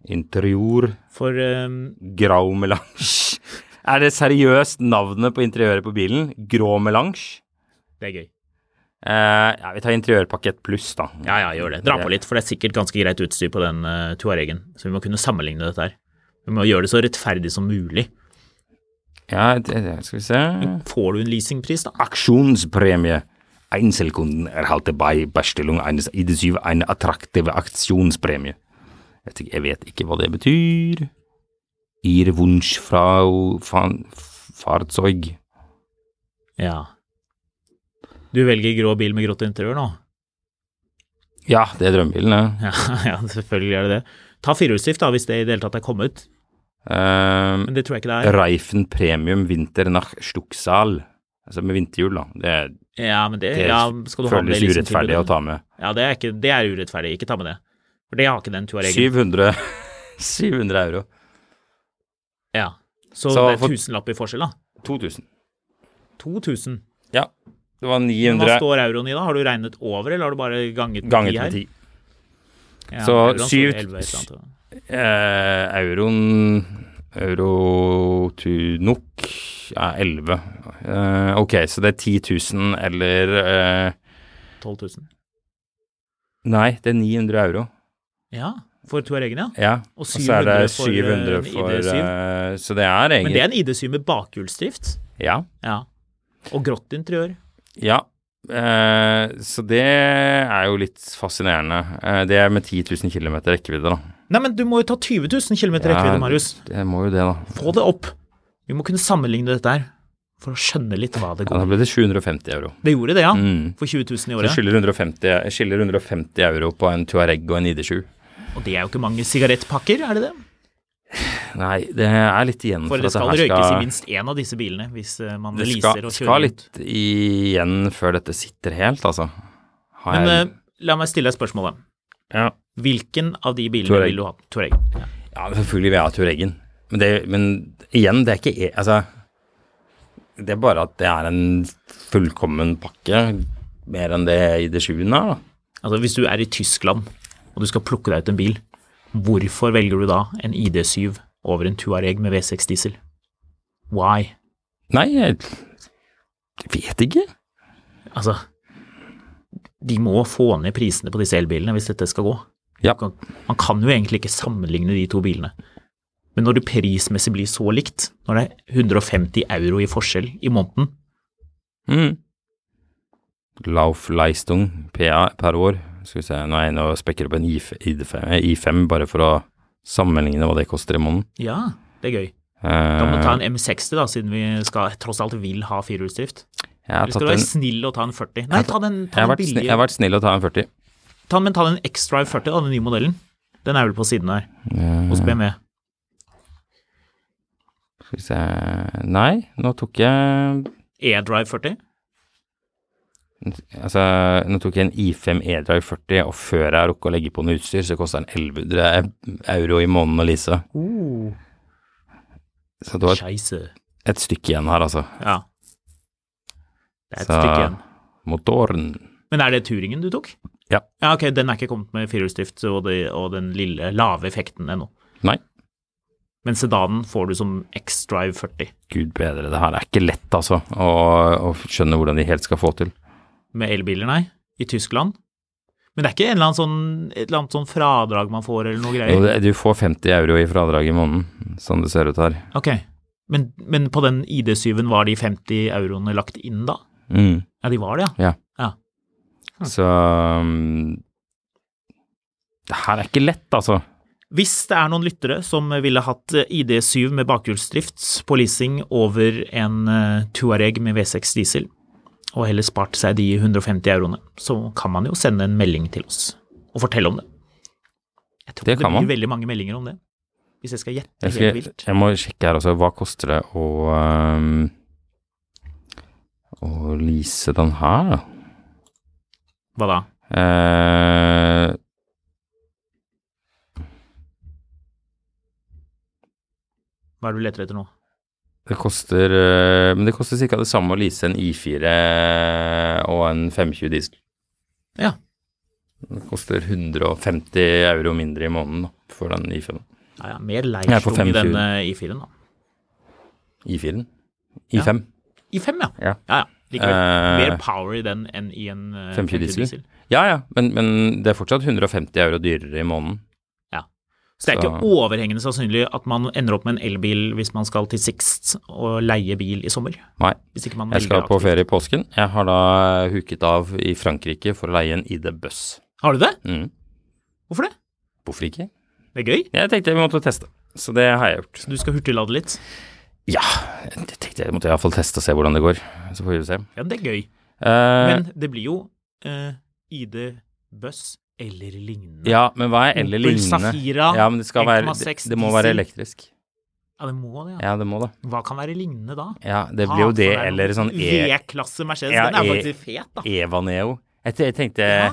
Speaker 1: Interior.
Speaker 2: For ehm,
Speaker 1: Grau
Speaker 2: <laughs>
Speaker 1: melange. Er det seriøst navnet på interiøret på bilen? Grå melange?
Speaker 2: det er gøy.
Speaker 1: Eh, ja, vi tar interiørpakett pluss, da.
Speaker 2: Ja, ja, gjør det. Dra på litt, for det er sikkert ganske greit utstyr på den uh, Tuaregen. Så vi må kunne sammenligne dette her. Vi må gjøre det så rettferdig som mulig.
Speaker 1: Ja, det, det, skal vi se.
Speaker 2: Får du en leasingpris, da?
Speaker 1: Aksjonspremie. Einzelkunden erhalte bei Bestellung eines ID7 eine attraktive Aktionspremie. Jeg vet, ikke, jeg vet ikke hva det betyr. Ihr Wunsch fra fan, Fahrzeug.
Speaker 2: Ja. Du velger grå bil med grått interiør nå? <laughs>
Speaker 1: Ja, det er drømmebilen, det.
Speaker 2: Ja, ja selvfølgelig er det det. Ta firehjulsdrift, da, hvis det i det hele tatt er kommet.
Speaker 1: Ehm,
Speaker 2: Men det tror jeg ikke det er.
Speaker 1: Reifen Premium Winter nach Stucksal. Altså med vinterhjul, da. Det,
Speaker 2: Ja, men det,
Speaker 1: det
Speaker 2: ja, skal du ha med
Speaker 1: føles
Speaker 2: det
Speaker 1: urettferdig å
Speaker 2: leasingtilbudet?
Speaker 1: ta med.
Speaker 2: Ja, det er, ikke, det er urettferdig. Ikke ta med det. For det har ikke den Tuaregen.
Speaker 1: 700, <laughs> 700 euro.
Speaker 2: Ja. Så,
Speaker 1: Så
Speaker 2: det er
Speaker 1: for-
Speaker 2: tusenlapp i forskjell, da.
Speaker 1: 2000.
Speaker 2: 2000.
Speaker 1: Ja. Det var
Speaker 2: Men hva
Speaker 1: 900
Speaker 2: står euroen i, da? Har du regnet over, eller har du bare ganget med
Speaker 1: ganget
Speaker 2: ti her?
Speaker 1: med 10.
Speaker 2: Ja,
Speaker 1: Så
Speaker 2: euroen står
Speaker 1: syv-
Speaker 2: 11 et eller annet.
Speaker 1: Eh, euroen Euro to nok er 11. Eh, ok, så det er 10 000 eller eh,
Speaker 2: 12 000.
Speaker 1: Nei, det er 900 euro.
Speaker 2: Ja, for Tuaregen, ja.
Speaker 1: Ja.
Speaker 2: Og
Speaker 1: så er det
Speaker 2: 700
Speaker 1: 700
Speaker 2: for, eh,
Speaker 1: for
Speaker 2: ID7.
Speaker 1: eh, Så det er
Speaker 2: Men det
Speaker 1: egentlig
Speaker 2: er en ID7 med bakhjulsdrift.
Speaker 1: Ja.
Speaker 2: Ja. Og grått interiør.
Speaker 1: ja. Eh, så det er jo litt fascinerende. Eh, det er med 10 000 km rekkevidde, da.
Speaker 2: Nei, men du må jo ta 20 000 km rekkevidde,
Speaker 1: Ja,
Speaker 2: Marius.
Speaker 1: Det må jo det, da.
Speaker 2: Få det opp. Vi må kunne sammenligne dette her, for å skjønne litt hva det
Speaker 1: Ja, da
Speaker 2: går i.
Speaker 1: ble det 750 euro.
Speaker 2: Det gjorde det, ja.
Speaker 1: Mm.
Speaker 2: For 20 000 i
Speaker 1: Så
Speaker 2: året.
Speaker 1: skiller 150, jeg skiller 150 euro på en Tuareg og en ID7.
Speaker 2: Og det er jo ikke mange sigarettpakker, er det det?
Speaker 1: Nei, det er litt igjen
Speaker 2: For det
Speaker 1: at
Speaker 2: skal
Speaker 1: her
Speaker 2: røykes i minst én av disse bilene hvis eh, man
Speaker 1: Det
Speaker 2: leaser
Speaker 1: skal,
Speaker 2: og kjører
Speaker 1: skal
Speaker 2: rundt.
Speaker 1: litt igjen før dette sitter helt, altså. Har
Speaker 2: Men
Speaker 1: jeg,
Speaker 2: eh, la meg stille deg spørsmålet.
Speaker 1: ja.
Speaker 2: Hvilken av de bilene
Speaker 1: Touareg.
Speaker 2: vil du ha? Touareg. Ja.
Speaker 1: ja, men selvfølgelig vil jeg ha Tureggen. Men, det, men igjen, det er ikke e- Altså, det er bare at det er en fullkommen pakke. Mer enn det ID7-en er, da.
Speaker 2: Altså, hvis du er i Tyskland og du skal plukke deg ut en bil, hvorfor velger du da en ID7 over en Tuareg med V6 diesel? Why?
Speaker 1: Nei, jeg jeg vet ikke.
Speaker 2: Altså, de må få ned prisene på disse elbilene hvis dette skal gå.
Speaker 1: Ja.
Speaker 2: Man kan- Man kan jo egentlig ikke sammenligne de to bilene. Men når du prismessig blir så likt, når det er 150 euro i forskjell i måneden,
Speaker 1: Mm. Laufleistung PA per år. Skal vi se, nå er jeg inne og spekker opp en I5, eh, I5 bare for å sammenligne hva det koster i måneden.
Speaker 2: ja, det er ggøy. Da må
Speaker 1: Eh,
Speaker 2: vi ta en M60 da, siden vi skal, tross alt vil ha firehjulsdrift.
Speaker 1: Eh, jeg, har
Speaker 2: Eller
Speaker 1: tatt
Speaker 2: skal du være
Speaker 1: en,
Speaker 2: snill og ta en 40? Nei, ta den,
Speaker 1: jeg,
Speaker 2: ta
Speaker 1: har
Speaker 2: den
Speaker 1: vært snill, jeg har
Speaker 2: billige.
Speaker 1: vært snill å ta en 40.
Speaker 2: Ta, men ta den X-Drive 40, da, den nye modellen. Den er vel på siden der, hos BMW.
Speaker 1: Skal vi se Nei, nå tok jeg
Speaker 2: E-Drive 40?
Speaker 1: Altså, nå tok jeg en I5 E-Drive 40, og før jeg har rukket å legge på noe utstyr, så koster den 1100 euro i måneden å lease. Så det var et,
Speaker 2: Scheisse.
Speaker 1: et stykke igjen her, altså.
Speaker 2: Ja. Det er et
Speaker 1: Så-
Speaker 2: stykke igjen.
Speaker 1: Motoren.
Speaker 2: Men er det turingen du tok?
Speaker 1: Ja.
Speaker 2: Ja, ok, den er ikke kommet med firehjulsdrift og, det- og den lille lave effekten ennå.
Speaker 1: Nei,
Speaker 2: Men sedanen får du som X-Drive 40
Speaker 1: gud bedre, det her er ikke lett, altså, å, å skjønne hvordan de helt skal få til.
Speaker 2: med elbiler, nei, i Tyskland. Men det er ikke en eller annen sånn, et eller annet sånn fradrag man får eller noe
Speaker 1: Jo,
Speaker 2: greier?
Speaker 1: det- Du får 50 euro i fradrag i måneden, sånn det ser ut her.
Speaker 2: Ok, men, men på den ID7-en var de 50 euroene lagt inn da?
Speaker 1: Mm.
Speaker 2: Ja, de var det, ja.
Speaker 1: Så um, Det her er ikke lett, altså.
Speaker 2: Hvis det er noen lyttere som ville hatt eh, ID7 med bakhjulsdrift på leasing over en eh, Touareg med V6 diesel, og heller spart seg de 150 euroene, så kan man jo sende en melding til oss og fortelle om det. Jeg tror
Speaker 1: Det
Speaker 2: det,
Speaker 1: kan man.
Speaker 2: blir veldig mange meldinger om det, hvis jeg skal gjette
Speaker 1: Jeg,
Speaker 2: helt
Speaker 1: skal,
Speaker 2: vilt.
Speaker 1: jeg må sjekke her også. Hva koster det å um, Å lease den her, da?
Speaker 2: Hva da?
Speaker 1: Eh,
Speaker 2: Hva er det du leter etter nå?
Speaker 1: det koster eh, Men det koster ca. det samme å lease en I4 og en 520 diesel.
Speaker 2: Ja.
Speaker 1: Det koster 150 euro mindre i måneden da, for den I5-en.
Speaker 2: Ja, ja, mer
Speaker 1: Jeg er på
Speaker 2: leirsjung i
Speaker 1: 25.
Speaker 2: denne I4-en, da.
Speaker 1: I4-en?
Speaker 2: Ja.
Speaker 1: I5.
Speaker 2: I 5, ja.
Speaker 1: Ja.
Speaker 2: Ja, ja. Likevel.
Speaker 1: Eh,
Speaker 2: Mer power i den enn i en eh,
Speaker 1: 520
Speaker 2: 520
Speaker 1: diesel. Ja, ja, men, men det er fortsatt 150 euro dyrere i måneden.
Speaker 2: Så det er
Speaker 1: Så-
Speaker 2: ikke overhengende sannsynlig at man ender opp med en elbil hvis man skal til Sixt og leie bil i sommer.
Speaker 1: Nei,
Speaker 2: Hvis ikke man
Speaker 1: jeg skal
Speaker 2: velger
Speaker 1: på
Speaker 2: aktivt.
Speaker 1: ferie i påsken. Jeg har da huket av i Frankrike for å leie en ID Buss.
Speaker 2: Har du det?
Speaker 1: Mm.
Speaker 2: Hvorfor det?
Speaker 1: Hvorfor ikke?
Speaker 2: Det er gøy.
Speaker 1: Jeg tenkte vi måtte teste, så det har jeg gjort.
Speaker 2: Du skal hurtiglade litt.
Speaker 1: Ja, jeg tenkte jeg måtte iallfall teste og se hvordan det går. Så får vi se.
Speaker 2: Ja, det er gøy.
Speaker 1: Eh,
Speaker 2: Men det blir jo eh, ID, buss eller lignende.
Speaker 1: ja, men hva er eller
Speaker 2: Opel
Speaker 1: lignende?
Speaker 2: Safira,
Speaker 1: ja, men det, skal være, det,
Speaker 2: 1,6
Speaker 1: det må være
Speaker 2: diesel.
Speaker 1: elektrisk.
Speaker 2: Ja, det må det, ja.
Speaker 1: Ja, det må det.
Speaker 2: Hva kan være lignende da?
Speaker 1: Ja, det blir jo det,
Speaker 2: Ah, for er noe-
Speaker 1: eller sånn E...
Speaker 2: V-klasse Mercedes,
Speaker 1: Ja,
Speaker 2: den er
Speaker 1: E-
Speaker 2: faktisk fet, da.
Speaker 1: Evaneo. Jeg, te- jeg, tenkte,
Speaker 2: Ja.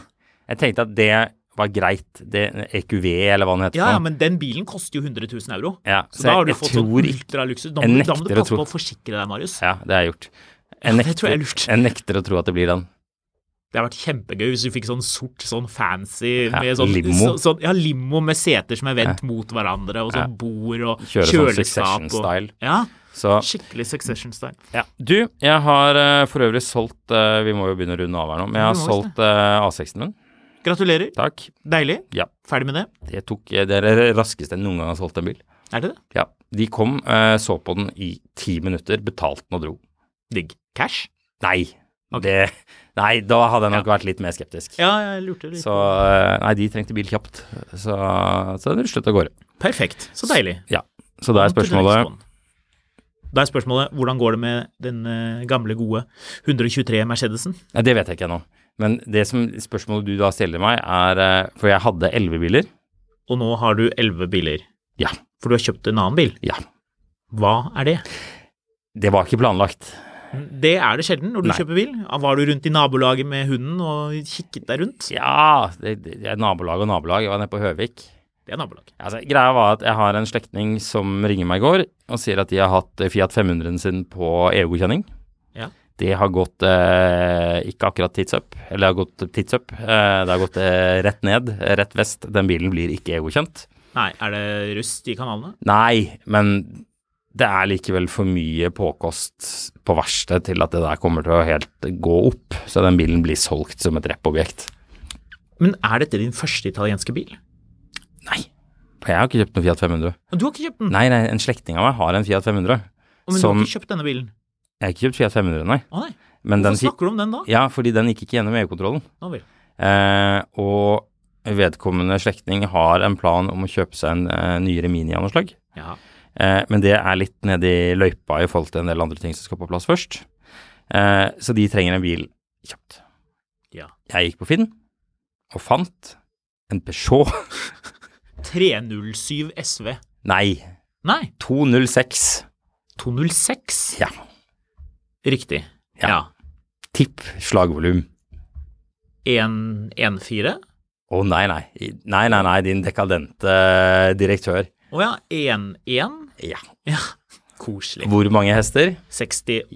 Speaker 1: jeg tenkte at det var greit. Det, E EQV, eller hva den heter.
Speaker 2: Ja,
Speaker 1: for
Speaker 2: ja,
Speaker 1: noe.
Speaker 2: men den bilen koster jo 100 000 euro.
Speaker 1: Ja,
Speaker 2: så,
Speaker 1: så
Speaker 2: da har du
Speaker 1: jeg- jeg
Speaker 2: fått sånn
Speaker 1: tror ikke-
Speaker 2: ultraluksus. Da,
Speaker 1: jeg
Speaker 2: må- da må du
Speaker 1: nekter å
Speaker 2: passe
Speaker 1: tro-
Speaker 2: på å forsikre deg, Marius.
Speaker 1: ja, det har jeg gjort. Jeg
Speaker 2: det tror jeg er lurt.
Speaker 1: jeg nekter å tro at det blir den.
Speaker 2: Det hadde vært kjempegøy hvis du fikk sånn sort, sånn fancy
Speaker 1: Ja,
Speaker 2: med sånn,
Speaker 1: limo.
Speaker 2: Så, sånn, ja, limo med seter som er vendt mot hverandre, og sånn bord og
Speaker 1: Kjøre sånn
Speaker 2: kjøleskap.
Speaker 1: Succession-style.
Speaker 2: og, ja,
Speaker 1: Så
Speaker 2: skikkelig succession-style.
Speaker 1: ja. Du, jeg har eh, for øvrig solgt eh, Vi må jo begynne å runde av her nå, men jeg
Speaker 2: Ja,
Speaker 1: har
Speaker 2: vi må visst
Speaker 1: solgt eh, A6-en min.
Speaker 2: Gratulerer.
Speaker 1: Takk.
Speaker 2: Deilig.
Speaker 1: Ja.
Speaker 2: Ferdig med det.
Speaker 1: Det, tok, eh, det er det raskeste jeg noen gang har solgt en bil.
Speaker 2: Er det det?
Speaker 1: Ja. De kom, eh, så på den i ti minutter, betalte den og dro.
Speaker 2: Digg. Cash?
Speaker 1: Nei. Det, nei, da hadde jeg nok vært litt mer skeptisk.
Speaker 2: Ja, jeg lurte litt.
Speaker 1: Så eh, Nei, de trengte bil kjapt. Så, så det slutta av gårde.
Speaker 2: Perfekt. Så deilig.
Speaker 1: Ja. Så da er spørsmålet
Speaker 2: Da er spørsmålet hvordan går det med den eh, gamle, gode 123 Mercedesen?
Speaker 1: Nei, Det vet jeg ikke ennå. Men det som spørsmålet du da stiller meg, er eh, For jeg hadde elleve biler.
Speaker 2: Og nå har du 11 biler.
Speaker 1: Ja.
Speaker 2: For du har kjøpt en annen bil.
Speaker 1: Ja.
Speaker 2: Hva er det?
Speaker 1: Det var ikke planlagt.
Speaker 2: Det er det sjelden når du
Speaker 1: Nei.
Speaker 2: kjøper bil. Var du rundt i nabolaget med hunden og kikket deg rundt?
Speaker 1: Ja, det, det det er nabolag og nabolag. Jeg var nede på Høvik.
Speaker 2: Det er nabolag.
Speaker 1: Altså, greia var at jeg har en slektning som ringer meg i går og sier at de har hatt eh, Fiat 500-en sin på EU-godkjenning.
Speaker 2: Ja.
Speaker 1: Det har gått eh, ikke akkurat tits up, eller det har gått tits up. Eh, det har gått eh, rett ned, rett vest. Den bilen blir ikke EU-godkjent.
Speaker 2: Nei, er det rust i kanalene?
Speaker 1: Nei, men det er likevel for mye påkost på verkstedet til at det der kommer til å helt gå opp, så den bilen blir solgt som et reppobjekt.
Speaker 2: Men er dette din første italienske bil?
Speaker 1: Nei, for jeg har ikke kjøpt noen Fiat 500.
Speaker 2: Du har ikke kjøpt den,
Speaker 1: Nei, nei, en slektning av meg har en Fiat 500.
Speaker 2: men du
Speaker 1: som-
Speaker 2: har ikke kjøpt denne bilen.
Speaker 1: Jeg har ikke kjøpt Fiat 500, nei.
Speaker 2: Å nei,
Speaker 1: Men
Speaker 2: hvorfor
Speaker 1: den, fi-
Speaker 2: snakker du om den da?
Speaker 1: ja, fordi den gikk ikke gjennom EU-kontrollen.
Speaker 2: Nå vel.
Speaker 1: Eh, og vedkommende slektning har en plan om å kjøpe seg en eh, nyere Mini av noe slag.
Speaker 2: Ja.
Speaker 1: Eh, men det er litt nedi løypa i forhold til en del andre ting som skal på plass først. Eh, så de trenger en bil kjapt.
Speaker 2: ja.
Speaker 1: Jeg gikk på Finn og fant en Peugeot. <laughs>
Speaker 2: 307 SV.
Speaker 1: Nei,
Speaker 2: Nei,
Speaker 1: 206.
Speaker 2: 206.
Speaker 1: Ja.
Speaker 2: Riktig.
Speaker 1: Ja. Tipp slagvolum.
Speaker 2: 1-4?
Speaker 1: Å nei, nei. Nei, nei, nei, din dekadente eh, direktør.
Speaker 2: Å ja, 1-1?
Speaker 1: Ja.
Speaker 2: Ja, koselig.
Speaker 1: Hvor mange hester?
Speaker 2: 68,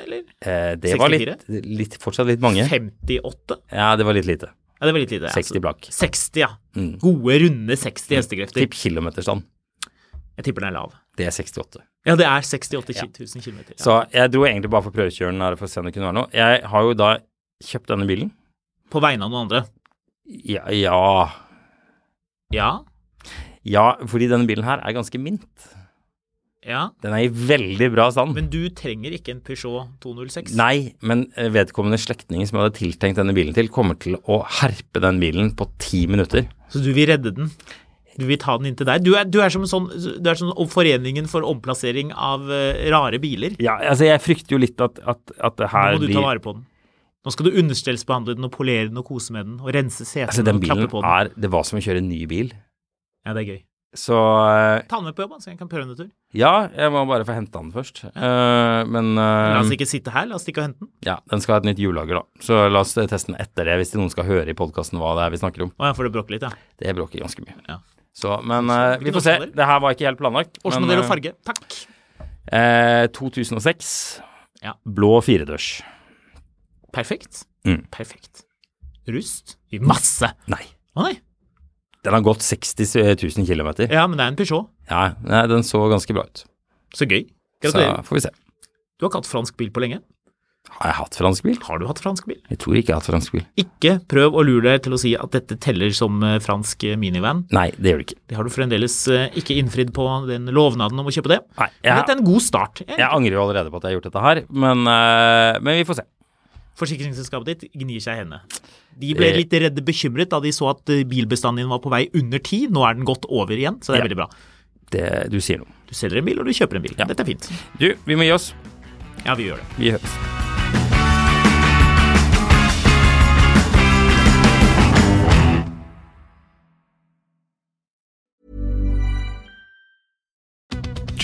Speaker 2: eller?
Speaker 1: Eh, det var litt, litt, fortsatt litt mange.
Speaker 2: 58?
Speaker 1: Ja, det var litt lite.
Speaker 2: Ja, det var litt lite.
Speaker 1: 60 blakk. Mm.
Speaker 2: 60, ja. Gode, runde 60 hestekrefter.
Speaker 1: Tipp kilometerstand.
Speaker 2: Jeg tipper den er lav.
Speaker 1: Det er 68.
Speaker 2: Ja, det er 68 000 km. Ja.
Speaker 1: Så jeg dro egentlig bare for prøvekjøren her for å se om det kunne være noe. Jeg har jo da kjøpt denne bilen.
Speaker 2: På vegne av noen andre.
Speaker 1: Ja, ja,
Speaker 2: Ja,
Speaker 1: ja fordi denne bilen her er ganske mint.
Speaker 2: ja.
Speaker 1: Den er i veldig bra stand.
Speaker 2: Men du trenger ikke en Peugeot 206.
Speaker 1: Nei, men eh, vedkommende slektninger som jeg hadde tiltenkt denne bilen til, kommer til å herpe den bilen på ti minutter.
Speaker 2: Så du vil redde den. Du vil ta den inn til deg. Du er, du er som en sånn, du er sånn Foreningen for omplassering av eh, rare biler.
Speaker 1: Ja, altså jeg frykter jo litt at, at, at det
Speaker 2: Nå
Speaker 1: her
Speaker 2: må du ta vare på den. Nå skal du understellsbehandle den og polere den og kose med den og rense setene
Speaker 1: Altså den
Speaker 2: og klappe
Speaker 1: bilen
Speaker 2: på den.
Speaker 1: er Det var som å kjøre en ny bil.
Speaker 2: Ja, det er gøy.
Speaker 1: Så eh,
Speaker 2: Ta den med på jobb, da, så jeg kan prøve den en tur.
Speaker 1: ja, jeg må bare få henta den først. Eh, men
Speaker 2: La oss
Speaker 1: eh,
Speaker 2: ikke sitte her, la oss stikke og hente den.
Speaker 1: ja, den skal ha et nytt hjullager, da. Så la oss eh, teste den etter det, hvis noen skal høre i podkasten hva det er vi snakker om.
Speaker 2: Å ja, for det bråker litt, ja.
Speaker 1: Det bråker ganske mye.
Speaker 2: Ja.
Speaker 1: Så, men eh, vi
Speaker 2: Hvilken
Speaker 1: får se.
Speaker 2: årsmodell?
Speaker 1: Det her var ikke helt planlagt. men,
Speaker 2: Årsmodell og
Speaker 1: eh,
Speaker 2: farge. Takk.
Speaker 1: Eh, 2006.
Speaker 2: Ja.
Speaker 1: Blå firedørs.
Speaker 2: Perfekt.
Speaker 1: Mm.
Speaker 2: Perfekt. Rust? I masse.
Speaker 1: Nei.
Speaker 2: Å nei.
Speaker 1: Den har gått 60 000 km.
Speaker 2: Ja, men det er en Peugeot.
Speaker 1: Ja, nei, den så ganske bra ut.
Speaker 2: Så gøy.
Speaker 1: Så
Speaker 2: Gratulerer.
Speaker 1: får vi se.
Speaker 2: Du har ikke hatt fransk bil på lenge.
Speaker 1: Har jeg hatt fransk bil?
Speaker 2: Har du hatt fransk bil?
Speaker 1: Jeg tror ikke jeg har hatt fransk bil.
Speaker 2: Ikke prøv å lure deg til å si at dette teller som eh, fransk eh, minivan.
Speaker 1: Nei, det gjør det ikke.
Speaker 2: Det har du fremdeles eh, ikke innfridd på den lovnaden om å kjøpe det.
Speaker 1: Nei,
Speaker 2: Men
Speaker 1: jeg,
Speaker 2: dette er en god start. Eh, Jeg-
Speaker 1: jeg angrer jo allerede på at jeg har gjort dette her, men, eh, men vi får se.
Speaker 2: Forsikringsselskapet ditt gnir seg i hendene. De ble
Speaker 1: Eh.
Speaker 2: litt redde bekymret da de så at eh, bilbestanden din var på vei under ti. Nå er den gått over igjen, så det er
Speaker 1: Ja.
Speaker 2: veldig bra.
Speaker 1: Det, du sier noe.
Speaker 2: Du selger en bil, og du kjøper en bil. Dette er fint.
Speaker 1: Du, vi må gi oss.
Speaker 2: Ja, vi gjør det.
Speaker 1: Vi høres.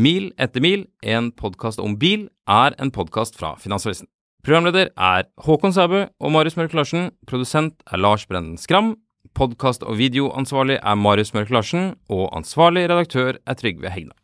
Speaker 1: Mil etter mil, en podkast om bil, er en podkast fra Finansavisen. Programleder er Håkon Sæbø og Marius Mørk Larsen. Produsent er Lars Brenden Skram. Podkast- og videoansvarlig er Marius Mørk Larsen. Og ansvarlig redaktør er Trygve Hegna.